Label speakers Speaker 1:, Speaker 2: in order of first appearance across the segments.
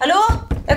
Speaker 1: Hallo? Jeg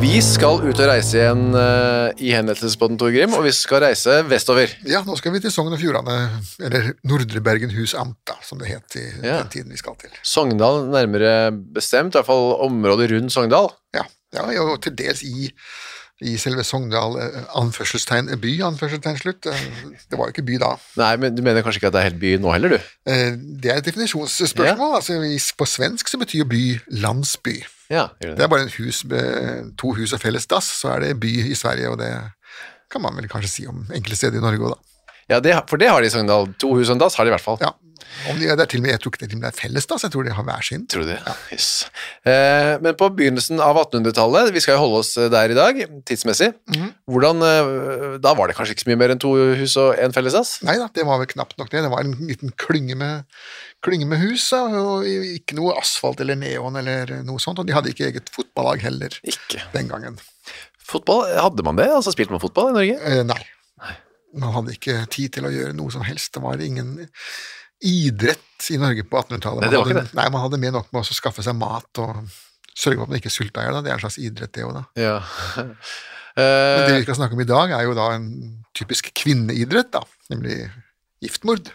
Speaker 2: Vi skal ut og reise igjen eh, i henlettelsesbåten, Tor Grim, og vi skal reise vestover.
Speaker 3: Ja, nå skal vi til Sogn og Fjordane, eller Nordre Bergenhus Amt, da, som det het i
Speaker 2: Ja.
Speaker 3: den tiden vi skal til.
Speaker 2: Sogndal nærmere bestemt, i hvert fall området rundt Sogndal.
Speaker 3: Ja, ja og til dels i, i selve Sogndal, eh, anførselstegn by, anførselstegn slutt. Eh, Det var jo ikke by da.
Speaker 2: Nei, men du mener kanskje ikke at det er helt by nå heller, du?
Speaker 3: Eh, Det er et definisjonsspørsmål. Altså, i- på svensk så betyr by landsby.
Speaker 2: Ja, gjør
Speaker 3: Det
Speaker 2: det.
Speaker 3: er bare en hus, med- to hus og felles dass, så er det by i Sverige, og det kan man vel kanskje si om enkelte steder i Norge òg, da.
Speaker 2: Ja, det, for det har de i Sogndal. To hus og en dass har de i hvert fall.
Speaker 3: Ja. Om de, det er til og med, jeg tror ikke det til og med er felles dass, jeg tror de har hver sin.
Speaker 2: Tror du det? Jøss. Eh, men på begynnelsen av 1800-tallet, vi skal jo holde oss eh, der i dag, tidsmessig,
Speaker 3: Mhm.
Speaker 2: hvordan, eh, da var det kanskje ikke så mye mer enn to hus og en felles dass?
Speaker 3: Nei da, det var vel knapt nok det. Det var en liten klynge med, klynge med hus, da, og ikke noe asfalt eller neon eller noe sånt. Og de hadde ikke eget fotballag heller
Speaker 2: Ikke.
Speaker 3: den gangen.
Speaker 2: Fotball, hadde man det? Altså spilte man fotball i Norge?
Speaker 3: Eh, nei. Man hadde ikke tid til å gjøre noe som helst. Det var ingen idrett i Norge på 1800-tallet.
Speaker 2: Nei, det var
Speaker 3: Man
Speaker 2: ikke
Speaker 3: hadde- Nei, man hadde mer nok med å skaffe seg mat og sørge for at man ikke sulta i hjel. da. Det er en slags idrett, det òg, da.
Speaker 2: Ja.
Speaker 3: Men det
Speaker 2: eh,
Speaker 3: vi skal snakke om i dag, er jo da en typisk kvinneidrett, da. Nemlig giftmord.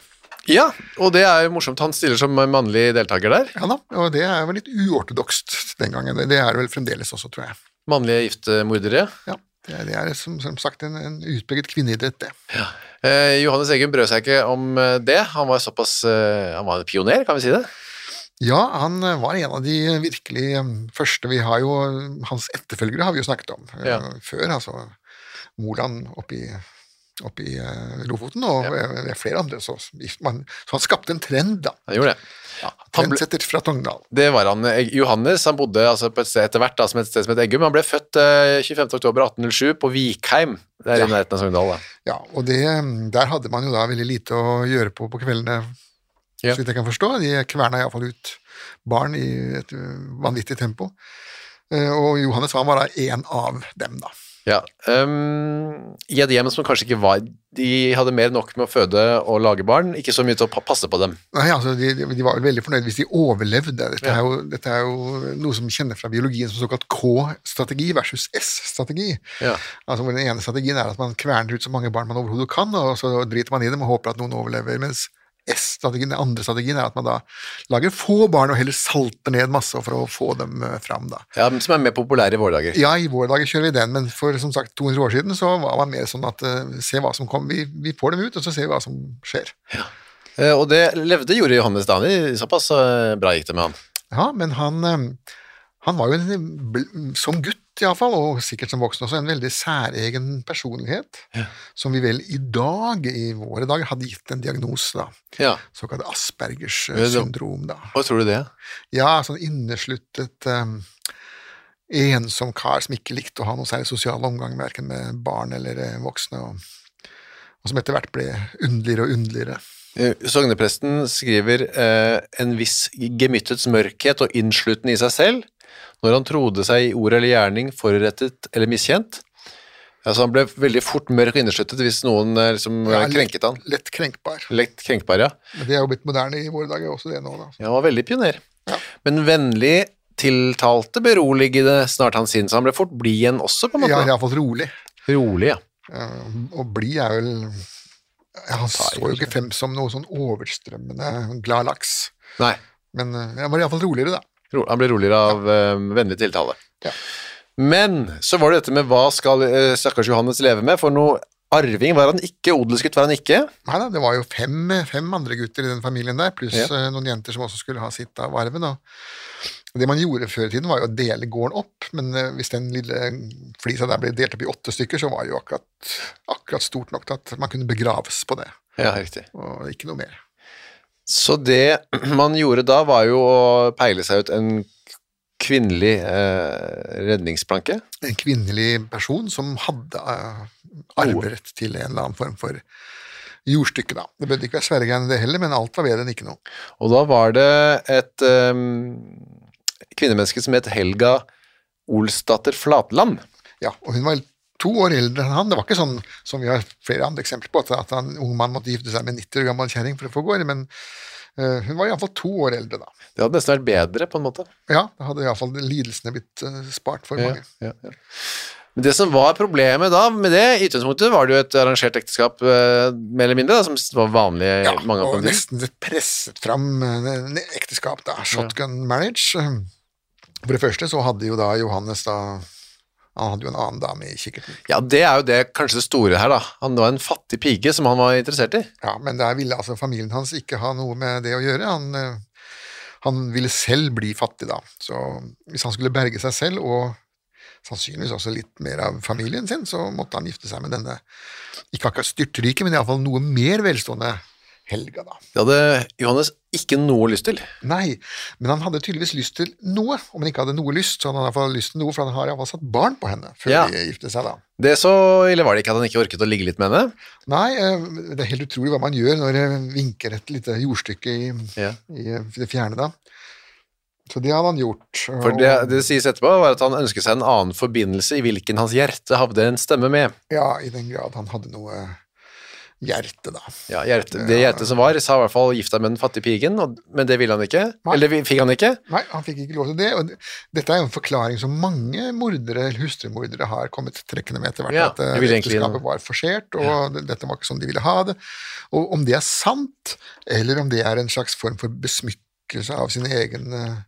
Speaker 2: ja, og det er jo morsomt. Han stiller som mannlig deltaker der.
Speaker 3: Ja da, og det er vel litt uortodokst den gangen. Det er det vel fremdeles også, tror jeg.
Speaker 2: Mannlige giftemordere.
Speaker 3: Ja, Det er, det er som, som sagt en, en utpreget kvinneidrett, det.
Speaker 2: Eh, Johannes Eggen brød seg ikke om eh, det. Han var såpass eh, Han var en pioner, kan vi si det?
Speaker 3: Ja, han eh, var en av de virkelig eh, første vi har jo Hans etterfølgere har vi jo snakket om eh,
Speaker 2: Ja.
Speaker 3: før, altså Moland oppi oppi eh, Lofoten, og eh, flere andre. Så, man, så han skapte en trend, da.
Speaker 2: Han gjorde det. han ble-
Speaker 3: Trendsetter fra Togndal.
Speaker 2: Det var han. Egg- Johannes han bodde altså på et sted etter hvert da, som et sted som het Eggum. Han ble født eh, 25. oktober 1807 på Vikheim. Det er
Speaker 3: Ja.
Speaker 2: i nærheten av Sogndal. da.
Speaker 3: Ja, og det, mm, der hadde man jo da veldig lite å gjøre på på kveldene,
Speaker 2: Ja.
Speaker 3: så vidt jeg kan forstå. De kverna iallfall ut barn i et ø, vanvittig tempo. Eh, Og Johannes han var da én av dem, da.
Speaker 2: Ja. ehm, I et hjem som kanskje ikke var De hadde mer enn nok med å føde og lage barn, ikke så mye til å pa- passe på dem.
Speaker 3: Nei, altså, de, de var vel veldig fornøyde hvis de overlevde. Dette,
Speaker 2: Ja.
Speaker 3: er jo, dette er jo noe som kjenner fra biologien som såkalt K-strategi versus S-strategi.
Speaker 2: Ja.
Speaker 3: Altså, hvor Den ene strategien er at man kverner ut så mange barn man overhodet kan, og så driter man i dem og håper at noen overlever. mens S-strategien, Den andre strategien er at man da lager få barn og heller salter ned masse for å få dem eh, fram. da.
Speaker 2: Ja, men Som er mer populære i våre dager.
Speaker 3: Ja, i våre dager kjører vi den, men for som sagt 200 år siden så var man mer sånn at eh, se hva som kom, vi, vi får dem ut, og så ser vi hva som skjer.
Speaker 2: Eh, og det levde gjorde Johannes Dani. Såpass eh, bra gikk det med han.
Speaker 3: Ja, men han, eh, han var jo en, bl- som gutt iallfall, og sikkert som voksen også, en veldig særegen personlighet, som vi vel i dag, i våre dager, hadde gitt en diagnose, da.
Speaker 2: Ja.
Speaker 3: Såkalt Aspergers eh,
Speaker 2: Ja, det-
Speaker 3: syndrom, da.
Speaker 2: Hva tror du det?
Speaker 3: Ja, sånn innesluttet eh, ensom kar som ikke likte å ha noe særlig sosial omgang, verken med barn eller eh, voksne, og, og som etter hvert ble underligere og underligere.
Speaker 2: Eh, Sognepresten skriver eh, en viss gemyttets mørkhet og innsluttende i seg selv, når han trodde seg i ord eller gjerning forurettet eller miskjent. Altså, han ble veldig fort mørk og innesluttet hvis noen eh, liksom, eh, krenket han.
Speaker 3: Lett, lett krenkbar.
Speaker 2: Lett krenkbar, ja.
Speaker 3: Men det er jo blitt moderne i våre dager, også det nå. da.
Speaker 2: Ja, han var veldig pioner. Men vennlig tiltalte beroligende snart hans sinn, så han ble fort blid igjen også, på en måte.
Speaker 3: Ja, Iallfall rolig.
Speaker 2: Rolig, ja.
Speaker 3: Eh, Og blid er vel ja, Han så jo ikke frem som noe sånn overstrømmende glad laks,
Speaker 2: Nei,
Speaker 3: men eh, han var iallfall roligere, da.
Speaker 2: ro- han ble roligere av eh, vennlig tiltale.
Speaker 3: Ja.
Speaker 2: Men så var det dette med hva skal eh, stakkars Johannes leve med, for noe arving var han ikke, odelsgutt var han ikke.
Speaker 3: Nei da, det var jo fem, fem andre gutter i den familien der, pluss
Speaker 2: Ja.
Speaker 3: eh, noen jenter som også skulle ha sitt av arven. Og og det man gjorde før i tiden, var jo å dele gården opp, men eh, hvis den lille flisa der ble delt opp i åtte stykker, så var det jo akkurat, akkurat stort nok til at man kunne begraves på det,
Speaker 2: Ja, riktig.
Speaker 3: og ikke noe mer.
Speaker 2: Så det man gjorde da var jo å peile seg ut en kvinnelig eh, redningsplanke.
Speaker 3: En kvinnelig person som hadde eh, arverett til en eller annen form for jordstykke, da. Det burde ikke være svære greiene det heller, men alt var bedre enn ikke noe.
Speaker 2: Og da var det et ehm, kvinnemenneske som het Helga Olsdatter Flatland.
Speaker 3: Ja, og hun var to år eldre enn han. Det var ikke sånn som vi har flere andre eksempler på, at- at en ung mann måtte gifte seg med en 90 år gammel kjerring for å få gård, men eh, hun var iallfall to år eldre da.
Speaker 2: Det hadde nesten vært bedre, på en måte.
Speaker 3: Ja, da hadde iallfall lidelsene blitt eh, spart for mange.
Speaker 2: Ja, ja. Men det som var problemet da med det, i utgangspunktet var det jo et arrangert ekteskap, eh, mer eller mindre, da, som s- var vanlig i
Speaker 3: Ja,
Speaker 2: mange av
Speaker 3: og
Speaker 2: kontinentene.
Speaker 3: nesten presset fram eh, en ekteskap, da. Shotgun marriage. For det første så hadde jo da Johannes da Han hadde jo en annen dame i kikkerten.
Speaker 2: Ja, det er jo det kanskje det store her, da. Han var en fattig pike som han var interessert i.
Speaker 3: Ja, men der ville altså familien hans ikke ha noe med det å gjøre. Han, eh, han ville selv bli fattig, da. Så hvis han skulle berge seg selv, og sannsynligvis også litt mer av familien sin, så måtte han gifte seg med denne ikke akkurat styrtrike, men iallfall noe mer velstående Helga, da.
Speaker 2: Det hadde Johannes ikke noe lyst til.
Speaker 3: Nei, men han hadde tydeligvis lyst til noe. Om han ikke hadde noe lyst, så hadde han iallfall lyst til noe, for han har iallfall satt barn på henne før
Speaker 2: Ja.
Speaker 3: de gifte seg, da.
Speaker 2: Det så ille var det ikke at han ikke orket å ligge litt med henne.
Speaker 3: Nei, eh, det er helt utrolig hva man gjør når det vinker et lite jordstykke i,
Speaker 2: Ja.
Speaker 3: i det fjerne, da. Så det hadde han gjort.
Speaker 2: For det, det sies etterpå var at han ønsket seg en annen forbindelse i hvilken hans hjerte hadde en stemme med.
Speaker 3: Ja, i den grad han hadde noe hjerte, da.
Speaker 2: Ja, hjerte, Det hjertet som var, sa i hvert fall 'gift deg med den fattige piken', og, men det ville han ikke.
Speaker 3: Nei.
Speaker 2: Eller det fikk han ikke.
Speaker 3: Nei, han fikk ikke lov til det. Og det- dette er jo en forklaring som mange mordere, eller hustrumordere, har kommet trekkende med etter hvert.
Speaker 2: Ja,
Speaker 3: at eh,
Speaker 2: de ville egentlig-
Speaker 3: ekteskapet var forsert, og det- dette var ikke sånn de ville ha det. Og om det er sant, eller om det er en slags form for besmykkelse av sine egne eh,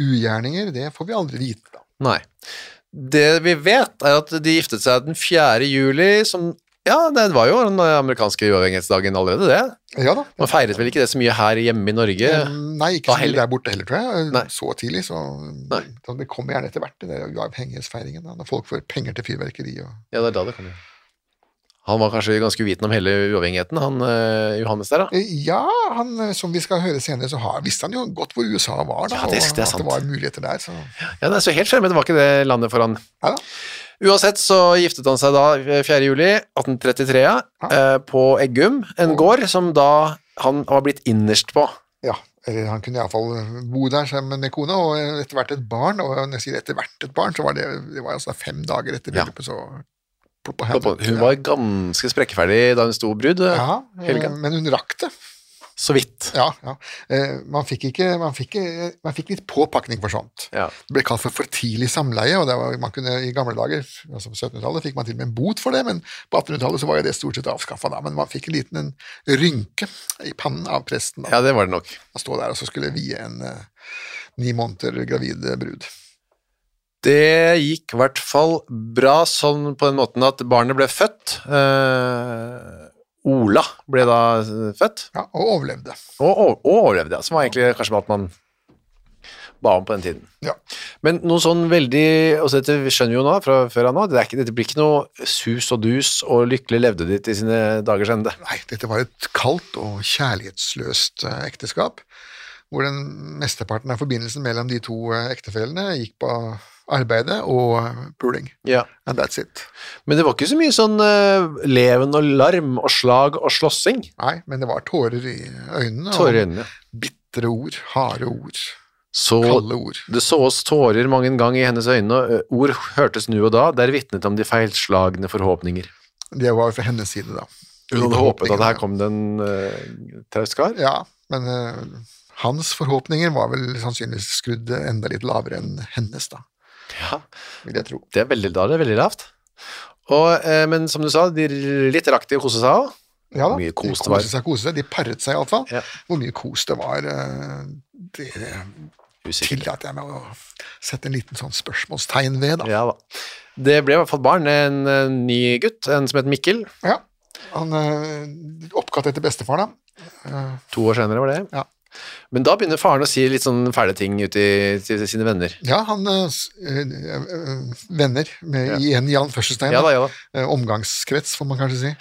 Speaker 3: ugjerninger, det får vi aldri vite, da.
Speaker 2: Nei. Det vi vet, er at de giftet seg den 4. juli, som Ja, det var jo den amerikanske uavhengighetsdagen allerede, det.
Speaker 3: Ja da.
Speaker 2: Man feiret vel ikke det så mye her hjemme i Norge.
Speaker 3: Um, Nei, ikke
Speaker 2: Da
Speaker 3: så mye
Speaker 2: heller.
Speaker 3: der borte heller, tror jeg.
Speaker 2: Nei.
Speaker 3: Så tidlig, så
Speaker 2: Nei.
Speaker 3: så Det kommer gjerne etter hvert, det der uavhengighetsfeiringen. da, Når folk får penger til fyrverkeri og
Speaker 2: Ja, det er da det kommer. Han var kanskje ganske uvitende om hele uavhengigheten, han eh, Johannes der, da.
Speaker 3: Eh, Ja, han, eh, som vi skal høre senere, så har, visste han jo godt hvor USA var, da,
Speaker 2: Ja, det-
Speaker 3: og
Speaker 2: det er
Speaker 3: at
Speaker 2: sant.
Speaker 3: det var muligheter der. Så.
Speaker 2: Ja, det er så helt skjermet, det var ikke det landet for han.
Speaker 3: Nei da.
Speaker 2: Uansett så giftet han seg da 4. juli 1833 ja, eh, på Eggum, en gård som da han var blitt innerst på.
Speaker 3: Ja, eller han kunne iallfall eh, bo der sammen med kona, og eh, etter hvert et barn. Og eh, når jeg sier etter hvert et barn, så var det, det var altså fem dager etter
Speaker 2: Ja.
Speaker 3: bryllupet, så ploppa
Speaker 2: Hun var ganske sprekkeferdig da hun sto brud, eh,
Speaker 3: ja, eh,
Speaker 2: Helga.
Speaker 3: men hun rakk det.
Speaker 2: så vidt.
Speaker 3: Ja, ja. Eh, Man fikk, ikke, man fikk, eh, man fikk litt påpakning for sånt.
Speaker 2: Ja.
Speaker 3: Det ble kalt for for tidlig samleie, og det var, man kunne, i gamle dager, altså på 1700-tallet, fikk man til og med en bot for det, men på 1800-tallet så var jo det stort sett avskaffa da. Men man fikk en liten en rynke i pannen av presten da.
Speaker 2: ja, det var det nok.
Speaker 3: Han stod der og så skulle vie en eh, ni måneder gravid brud.
Speaker 2: Det gikk i hvert fall bra sånn på den måten at barnet ble født. Eh, Ola ble da eh, født,
Speaker 3: Ja, og overlevde.
Speaker 2: og, og, og overlevde, ja, som var egentlig kanskje alt man ba om på den tiden.
Speaker 3: Ja.
Speaker 2: Men noe sånn veldig, og så dette skjønner vi jo nå fra før av nå, det er ikke, dette blir ikke noe sus og dus og lykkelig levde ditt i sine dagers ende.
Speaker 3: Nei, dette var et kaldt og kjærlighetsløst eh, ekteskap. hvor den mesteparten av forbindelsen mellom de to eh, ektefellene gikk på arbeidet og eh, puling.
Speaker 2: Ja.
Speaker 3: And that's it.
Speaker 2: Men det var ikke så mye sånn eh, leven og larm og slag og slåssing.
Speaker 3: Nei, men det var tårer i øynene.
Speaker 2: Tårer i øynene.
Speaker 3: Og bitre ord, harde ord,
Speaker 2: Så
Speaker 3: kalde ord.
Speaker 2: det så oss tårer mange en gang i hennes øyne, og ø, ord hørtes nu og da, der vitnet om de feilslagne forhåpninger.
Speaker 3: Det var fra hennes side, da.
Speaker 2: Hun hadde håpet at her
Speaker 3: Forhåpningene.
Speaker 2: kom det en uh, traust kar.
Speaker 3: Ja, men eh, hans forhåpninger var vel sannsynligvis skrudd enda litt lavere enn hennes, da,
Speaker 2: Ja.
Speaker 3: vil jeg tro.
Speaker 2: Det er veldig, da er det veldig lavt. Og, eh, men som du sa, de litt rakk til å kose seg òg.
Speaker 3: Ja da,
Speaker 2: Hvor mye kos
Speaker 3: de
Speaker 2: det var.
Speaker 3: koste seg, koste seg. De paret seg iallfall.
Speaker 2: Ja.
Speaker 3: Hvor mye kos det var, eh, det tillater jeg meg å sette en liten sånn spørsmålstegn ved, da.
Speaker 2: Ja da. Det ble i hvert fall barn, en, eh, ny gutt, en som het Mikkel.
Speaker 3: Ja. Han eh, oppkalt etter bestefar, da.
Speaker 2: To år senere var det.
Speaker 3: Ja.
Speaker 2: Men da begynner faren å si litt sånn fæle ting ut i, til sine venner.
Speaker 3: Ja, han eh, s- eh, eh, Venner, med,
Speaker 2: Ja.
Speaker 3: igjen i anførselstegn.
Speaker 2: Ja da, ja da.
Speaker 3: Eh, omgangskrets, får man kanskje si.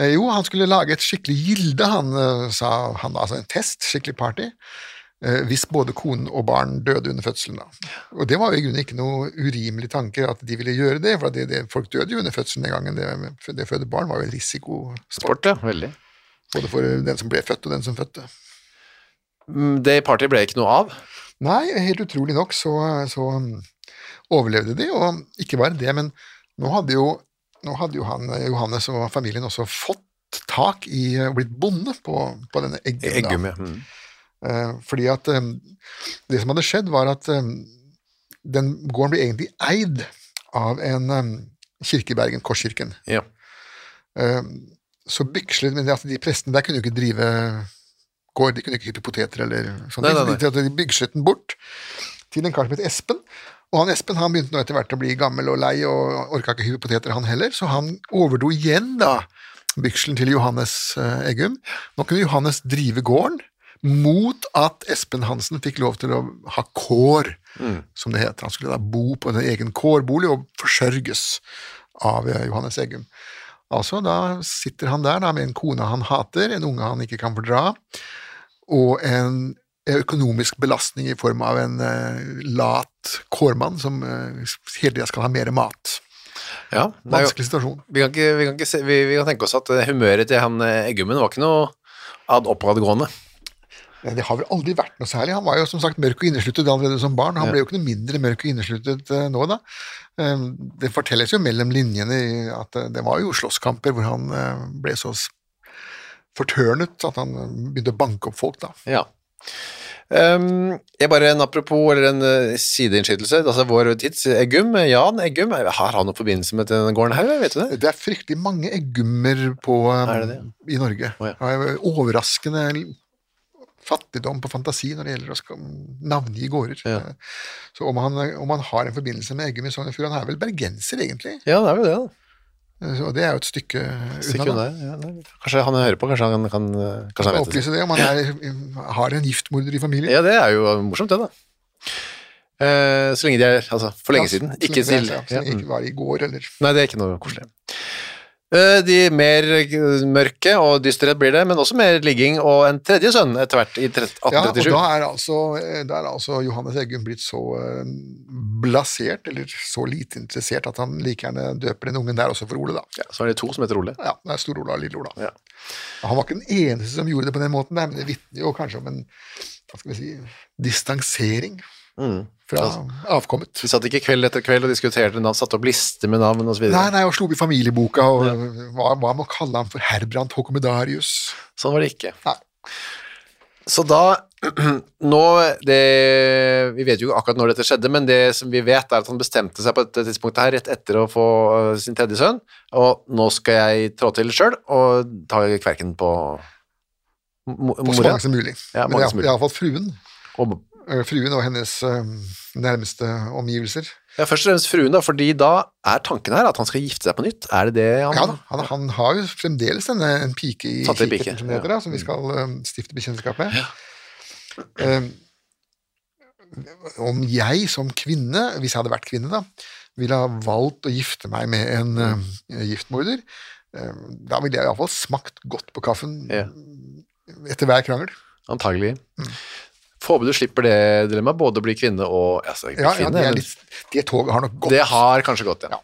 Speaker 3: Eh, jo, han skulle lage et skikkelig gilde, han eh, sa han, altså en test, skikkelig party. eh, Hvis både konen og barn døde under fødselen. Da. Og det var jo i grunnen ikke noe urimelig tanke at de ville gjøre det, for at det, det, folk døde jo under fødselen den gangen. Det, det å føde barn var jo en risikosport,
Speaker 2: Sport, ja. Veldig.
Speaker 3: både for den som ble født og den som fødte.
Speaker 2: Mm, Det partyet ble ikke noe av.
Speaker 3: Nei, helt utrolig nok så, så um, overlevde de, og ikke bare det, men nå hadde jo, nå hadde jo han, eh, Johannes og familien også fått tak i eh, og blitt bonde på, på denne
Speaker 2: I
Speaker 3: eggummen. da.
Speaker 2: Eggum, ja. Mm.
Speaker 3: Eh, Fordi at eh, det som hadde skjedd, var at eh, den gården ble egentlig eid av en eh, kirke i Bergen, Korskirken.
Speaker 2: ja.
Speaker 3: Eh, Så bykslet men det at de prestene der kunne jo ikke drive gård, de kunne ikke hyppe poteter eller sånne
Speaker 2: Nei, nei,
Speaker 3: ting. så de- De bykslet den bort til en kar som het Espen. Og han Espen han begynte nå etter hvert å bli gammel og lei og orka ikke hyppe poteter, han heller, så han overdro igjen da bykselen til Johannes eh, Eggum. Nå kunne Johannes drive gården. Mot at Espen Hansen fikk lov til å ha kår,
Speaker 2: Mm.
Speaker 3: som det heter. Han skulle da bo på en egen kårbolig og forsørges av eh, Johannes Eggum. Altså, da sitter han der da, med en kone han hater, en unge han ikke kan fordra, og en økonomisk belastning i form av en eh, lat kårmann som eh, hele tida skal ha mer mat.
Speaker 2: ja. det er jo-
Speaker 3: Vanskelig situasjon.
Speaker 2: Vi kan, ikke, vi, kan ikke se, vi, vi kan tenke oss at eh, humøret til han eh, Eggummen var ikke noe ad oppadgående.
Speaker 3: Ja, Det har vel aldri vært noe særlig. Han var jo som sagt mørk og innesluttet allerede som barn. Han ble jo ikke noe mindre mørk og innesluttet eh, nå, da. Eh, Det fortelles jo mellom linjene i at eh, det var jo slåsskamper hvor han eh, ble så s- fortørnet at han eh, begynte å banke opp folk, da.
Speaker 2: Ja. Um, jeg bare en apropos, eller en eh, sideinnskytelse, altså vår tids Eggum, eh, Jan Eggum, eh, har han noen forbindelse med denne gården her, vet du det?
Speaker 3: Det er fryktelig mange eggummer på, um,
Speaker 2: Er det det?
Speaker 3: i Norge.
Speaker 2: Å, ja.
Speaker 3: Det er Overraskende l- fattigdom på fantasi når det gjelder å skal navngi gårder.
Speaker 2: Ja.
Speaker 3: Så om han, om han har en forbindelse med Eggum i Sogn og Fjordane, han er vel bergenser, egentlig.
Speaker 2: Ja, det er vel det, da.
Speaker 3: Og det er jo et stykke
Speaker 2: Stikk
Speaker 3: unna. da.
Speaker 2: unna. Ja, det er- kanskje han hører på, kanskje han kan eh, Kanskje han vet det.
Speaker 3: Opplyse det om han er, har en giftmorder i familien.
Speaker 2: Ja, det er jo morsomt, det, da. Eh, så lenge de er Altså, for lenge siden. Ikke
Speaker 3: så,
Speaker 2: til
Speaker 3: ja,
Speaker 2: ja,
Speaker 3: så
Speaker 2: mm.
Speaker 3: lenge det ikke var i går, eller
Speaker 2: Nei, det er ikke noe koselig. Eh, De mer eh, mørke og dystre blir det, men også mer ligging og en tredje sønn etter hvert i tret-
Speaker 3: Ja, og
Speaker 2: 1837.
Speaker 3: da er altså, da er altså Johannes Eggum blitt så eh, blasert, eller så lite interessert, at han like gjerne døper den ungen der også for Ole, da.
Speaker 2: Ja, så er det to som heter Ole.
Speaker 3: Ja, det er Stor-Ola og Lille-Ola.
Speaker 2: Ja.
Speaker 3: Han var ikke den eneste som gjorde det på den måten, der, men det vitner jo kanskje om en hva skal vi si, distansering
Speaker 2: Mm.
Speaker 3: fra
Speaker 2: Altså.
Speaker 3: avkommet.
Speaker 2: Vi satt ikke kveld etter kveld og diskuterte navn, satte opp lister med navn osv.
Speaker 3: Nei, nei, og slo opp i familieboka, og hva, hva med å kalle ham for Herbrandt Hokomedarius?
Speaker 2: Sånn var det ikke.
Speaker 3: Nei.
Speaker 2: Så da Nå det, Vi vet jo ikke akkurat når dette skjedde, men det som vi vet, er at han bestemte seg på dette tidspunktet her rett etter å få øh, sin tredje sønn, og nå skal jeg trå til sjøl og ta kverken på mo-
Speaker 3: På så
Speaker 2: mora.
Speaker 3: mange som mulig.
Speaker 2: Ja, mange
Speaker 3: men det
Speaker 2: som
Speaker 3: er
Speaker 2: mulig.
Speaker 3: iallfall fruen.
Speaker 2: Og,
Speaker 3: eh, Fruen og hennes eh, nærmeste omgivelser.
Speaker 2: ja, først og fremst fruen, da, fordi da er tanken her at han skal gifte seg på nytt. Er det det han
Speaker 3: Ja da, han, han har jo fremdeles denne, en pike i
Speaker 2: Satt i pike,
Speaker 3: kikkerten, som det heter, da, som vi skal eh, stifte bekjentskap med. Eh, om jeg som kvinne, hvis jeg hadde vært kvinne, da, ville ha valgt å gifte meg med en eh, giftmorder, eh, da ville jeg iallfall smakt godt på kaffen
Speaker 2: Ja.
Speaker 3: etter hver krangel.
Speaker 2: Antagelig. Får håpe du slipper det dilemmaet, både å bli kvinne og altså, ikke bli
Speaker 3: Ja, ja,
Speaker 2: kvinne,
Speaker 3: det,
Speaker 2: men-
Speaker 3: er litt, det toget har nok gått.
Speaker 2: Det har kanskje gått, ja.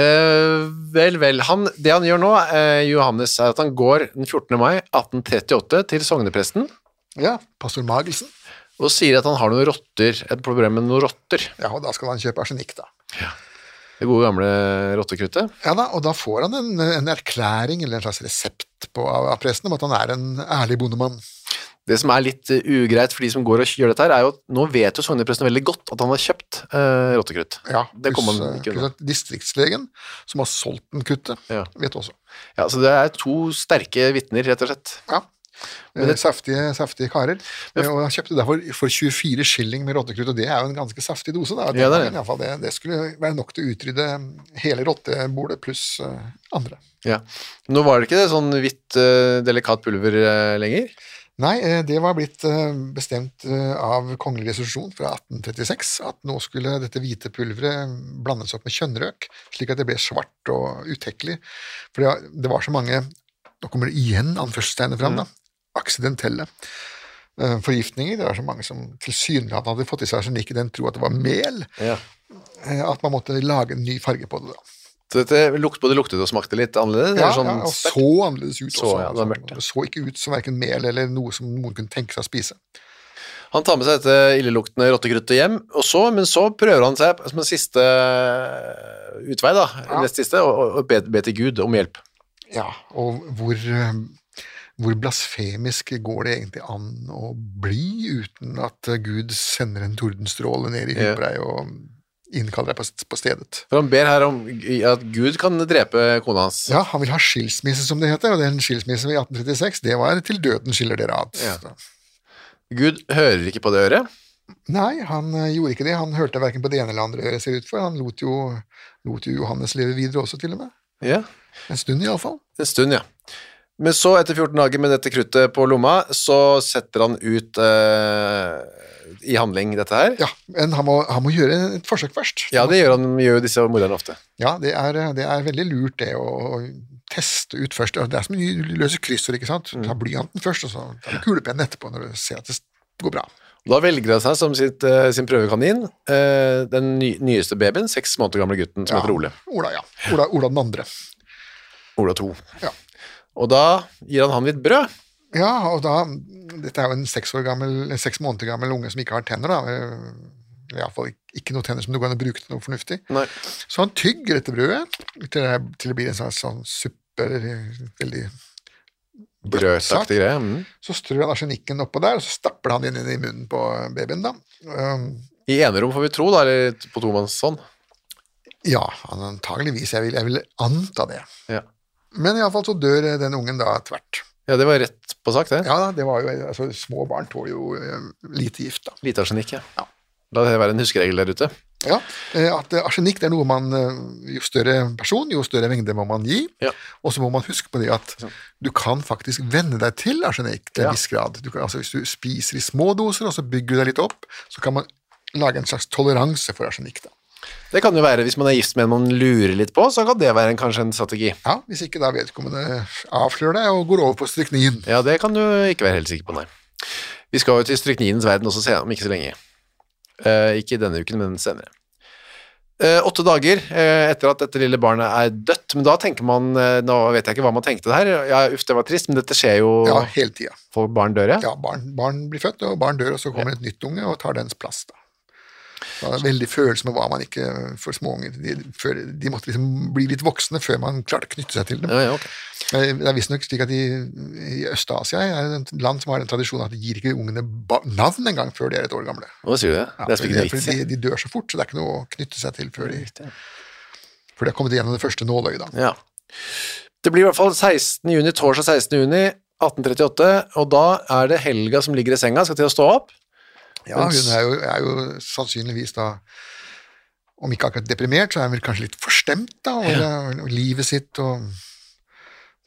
Speaker 2: Eh, vel, vel. Han, det han gjør nå, eh, Johannes, er at han går den 14. mai 1838 til sognepresten
Speaker 3: Ja, Pastor Magelsen.
Speaker 2: og sier at han har noen rotter, et problem med noen rotter.
Speaker 3: Ja, og da skal han kjøpe arsenikk, da.
Speaker 2: Det gode gamle rottekruttet.
Speaker 3: Ja da, Og da får han en, en erklæring eller en slags resept på, av av presten om at han er en ærlig bondemann.
Speaker 2: Det som er litt eh, ugreit for de som går og gjør dette her, er jo at nå vet jo sognepresten veldig godt at han har kjøpt eh, rottekrutt.
Speaker 3: Ja,
Speaker 2: Det kommer man
Speaker 3: pluss-
Speaker 2: ikke
Speaker 3: pluss
Speaker 2: unna.
Speaker 3: at Distriktslegen, som har solgt den kuttet,
Speaker 2: Ja.
Speaker 3: vet også.
Speaker 2: Ja, så det er to sterke vitner, rett og slett.
Speaker 3: Ja. Eh, saftige, saftige karer. Eh, og han kjøpte derfor for 24 skilling med rottekrutt, og det er jo en ganske saftig dose. Da. Den
Speaker 2: Ja, det er det.
Speaker 3: gangen i hvert fall det, det skulle være nok til å utrydde hele rottebordet pluss eh, andre.
Speaker 2: Ja. Nå var det ikke det sånn hvitt, eh, delikat pulver eh, lenger.
Speaker 3: Nei, eh, det var blitt eh, bestemt eh, av kongelig resolusjon fra 1836 at nå skulle dette hvite pulveret eh, blandes opp med kjønnrøk, slik at det ble svart og utekkelig. For det var- det var så mange Nå kommer det igjen anførselstegnet fram, da.
Speaker 2: Mm.
Speaker 3: Aksidentelle eh, forgiftninger. Det var så mange som tilsynelatende hadde fått i seg arsenikk i den tro at det var mel,
Speaker 2: Ja.
Speaker 3: eh, at man måtte lage en ny farge på det. da.
Speaker 2: Så dette lukt, både luktet og smakte litt annerledes?
Speaker 3: Ja,
Speaker 2: eller sånn
Speaker 3: ja, og
Speaker 2: sterkt?
Speaker 3: så annerledes ut
Speaker 2: Så,
Speaker 3: også.
Speaker 2: ja, det var mørkt, ja.
Speaker 3: det så ikke ut som verken mel eller noe som noen kunne tenke seg å spise.
Speaker 2: Han tar med seg dette illeluktende rottekruttet hjem, og så, men så prøver han seg som en siste eh, utvei, da, nest siste, og, og be, be til Gud om hjelp.
Speaker 3: Ja, og hvor, eh, hvor blasfemisk går det egentlig an å bli uten at eh, Gud sender en tordenstråle ned i huet
Speaker 2: Ja.
Speaker 3: på deg og innkaller deg på, s- på stedet?
Speaker 2: For han ber her om at Gud kan drepe kona hans.
Speaker 3: Ja, han vil ha skilsmisse, som det heter, og den skilsmissen i 1836, det var til døden skiller dere ad.
Speaker 2: Ja. Gud hører ikke på det øret.
Speaker 3: Nei, han eh, gjorde ikke det. Han hørte verken på det ene eller andre øret, ser det ut for. Han lot jo, lot jo Johannes leve videre også, til og med.
Speaker 2: Ja.
Speaker 3: En stund, iallfall.
Speaker 2: En stund, ja. Men så, etter 14 dager med dette kruttet på lomma, så setter han ut eh, i handling dette her.
Speaker 3: Ja, men han må, han må gjøre et forsøk først.
Speaker 2: Ja, det gjør, han, gjør jo disse morderne ofte.
Speaker 3: Ja, det er, eh, det er veldig lurt det å å teste ut først. Det er som du løser kryssord, ikke sant. Ta blyanten først, og så ta med kulepennen etterpå når du ser at det går bra.
Speaker 2: Da velger han seg som sitt, eh, sin prøvekanin eh, den ny, nyeste babyen, seks måneder gamle gutten som
Speaker 3: Ja.
Speaker 2: heter Ole.
Speaker 3: Ola, ja. Ola, Ola den andre.
Speaker 2: Ola 2.
Speaker 3: Ja.
Speaker 2: Og da gir han han litt brød.
Speaker 3: Ja, og da Dette er jo en seks, år gammel, seks måneder gammel unge som ikke har tenner, da. Iallfall ikke noen tenner som det går an å bruke til noe fornuftig.
Speaker 2: Nei.
Speaker 3: Så han tygger dette brødet til det, til det blir en sånn, sånn suppe eller veldig
Speaker 2: Grøtaktig greie. Mm.
Speaker 3: Så strør han arsenikken oppå der, og så stapper han den inn i munnen på babyen, da. Um,
Speaker 2: I enerom, får vi tro, da, eller på tomannshånd.
Speaker 3: Ja, han- antageligvis. Jeg vil, jeg vil anta det.
Speaker 2: Ja.
Speaker 3: Men iallfall så dør eh, den ungen da tvert.
Speaker 2: ja, det var rett på sak, det.
Speaker 3: Ja da, det var jo, altså Små barn tåler jo eh, lite gift, da.
Speaker 2: Lite arsenikk, ja.
Speaker 3: Ja.
Speaker 2: La det være en huskeregel der ute.
Speaker 3: Ja, eh, at eh, Arsenikk det er noe man eh, Jo større person, jo større mengde må man gi.
Speaker 2: Ja.
Speaker 3: Og så må man huske på det at du kan faktisk venne deg til arsenikk til en
Speaker 2: Ja.
Speaker 3: viss grad. Du kan, altså Hvis du spiser i små doser, og så bygger du deg litt opp, så kan man lage en slags toleranse for arsenikk. da.
Speaker 2: Det kan jo være, hvis man er gift med en man lurer litt på, så kan det være en, kanskje en strategi.
Speaker 3: Ja, Hvis ikke da vedkommende avslører deg og går over på stryknin.
Speaker 2: Ja, det kan du ikke være helt sikker på, nei. Vi skal jo til strykninens verden også se- om ikke så lenge. Eh, ikke denne uken, men senere. Eh, åtte dager eh, etter at dette lille barnet er dødt, men da tenker man, eh, nå vet jeg ikke hva man tenkte der, ja, uff, det var trist, men dette skjer jo,
Speaker 3: Ja, hele tida.
Speaker 2: folk barn dør, ja.
Speaker 3: ja, barn, barn blir født, og barn dør, og så kommer et nytt unge og tar dens plass. da. Det var veldig følelse med hva man ikke for småunger de, før, de måtte liksom bli litt voksne før man klarte å knytte seg til dem.
Speaker 2: Ja, ja, ok.
Speaker 3: Eh, Det er visstnok slik at i, i Øst-Asia er det et land som har den tradisjonen at de gir ikke ungene ba navn engang før de er et år gamle.
Speaker 2: Nå sier du det.
Speaker 3: Ja,
Speaker 2: det er spennende
Speaker 3: fordi de, de dør så fort, så det er ikke noe å knytte seg til før de,
Speaker 2: viktig.
Speaker 3: før de har kommet gjennom det første nåløyet. da.
Speaker 2: Ja. Det blir i hvert fall 16. juni, torsdag 16. juni 1838, og da er det Helga som ligger i senga, skal til å stå opp.
Speaker 3: Ja, hun er jo, er jo sannsynligvis da Om ikke akkurat deprimert, så er hun vel kanskje litt forstemt, da. Og, og livet sitt og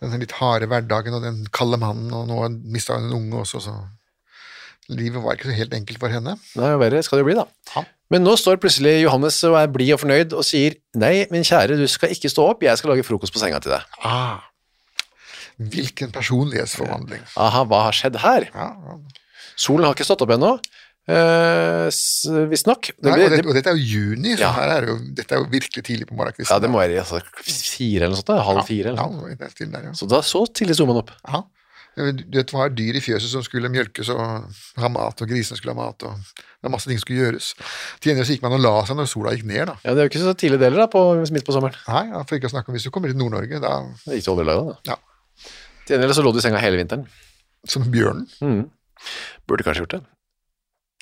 Speaker 3: den litt harde hverdagen og den kalde mannen, og nå mista hun en unge også, så livet var ikke så helt enkelt for henne.
Speaker 2: Nei, jo verre skal det jo bli, da.
Speaker 3: Ja.
Speaker 2: Men nå står plutselig Johannes og er blid og fornøyd og sier nei, min kjære, du skal ikke stå opp, jeg skal lage frokost på senga til deg.
Speaker 3: Ah. Hvilken personlighetsforvandling.
Speaker 2: Aha, hva har skjedd her?
Speaker 3: Ja, ja.
Speaker 2: Solen har ikke stått opp ennå, eh, s- visstnok. Det
Speaker 3: Nei,
Speaker 2: blir-
Speaker 3: og, det,
Speaker 2: det-
Speaker 3: og dette er jo juni, så
Speaker 2: Ja.
Speaker 3: her er det jo, dette er jo virkelig tidlig på morgenkvisten.
Speaker 2: Ja, det må være altså, fire eller noe sånt, da, halv fire. Eller
Speaker 3: Ja,
Speaker 2: noe.
Speaker 3: det er til der, ja.
Speaker 2: Så da så tidlig zoomer man opp.
Speaker 3: ja. Du vet, det var dyr i fjøset som skulle mjølkes og ha mat, og grisene skulle ha mat, og det var masse ting som skulle gjøres. Til gjengjeld så gikk man og la seg når sola gikk ned, da.
Speaker 2: Ja, Det er jo ikke så tidlig deler da, på, midt på sommeren.
Speaker 3: Nei, ja, for ikke å snakke om hvis du kommer til Nord-Norge, da
Speaker 2: Det gikk til oljelagene. da.
Speaker 3: ja,
Speaker 2: Til gjengjeld så lå du i senga hele vinteren.
Speaker 3: som bjørnen.
Speaker 2: Burde kanskje gjort det. Mm.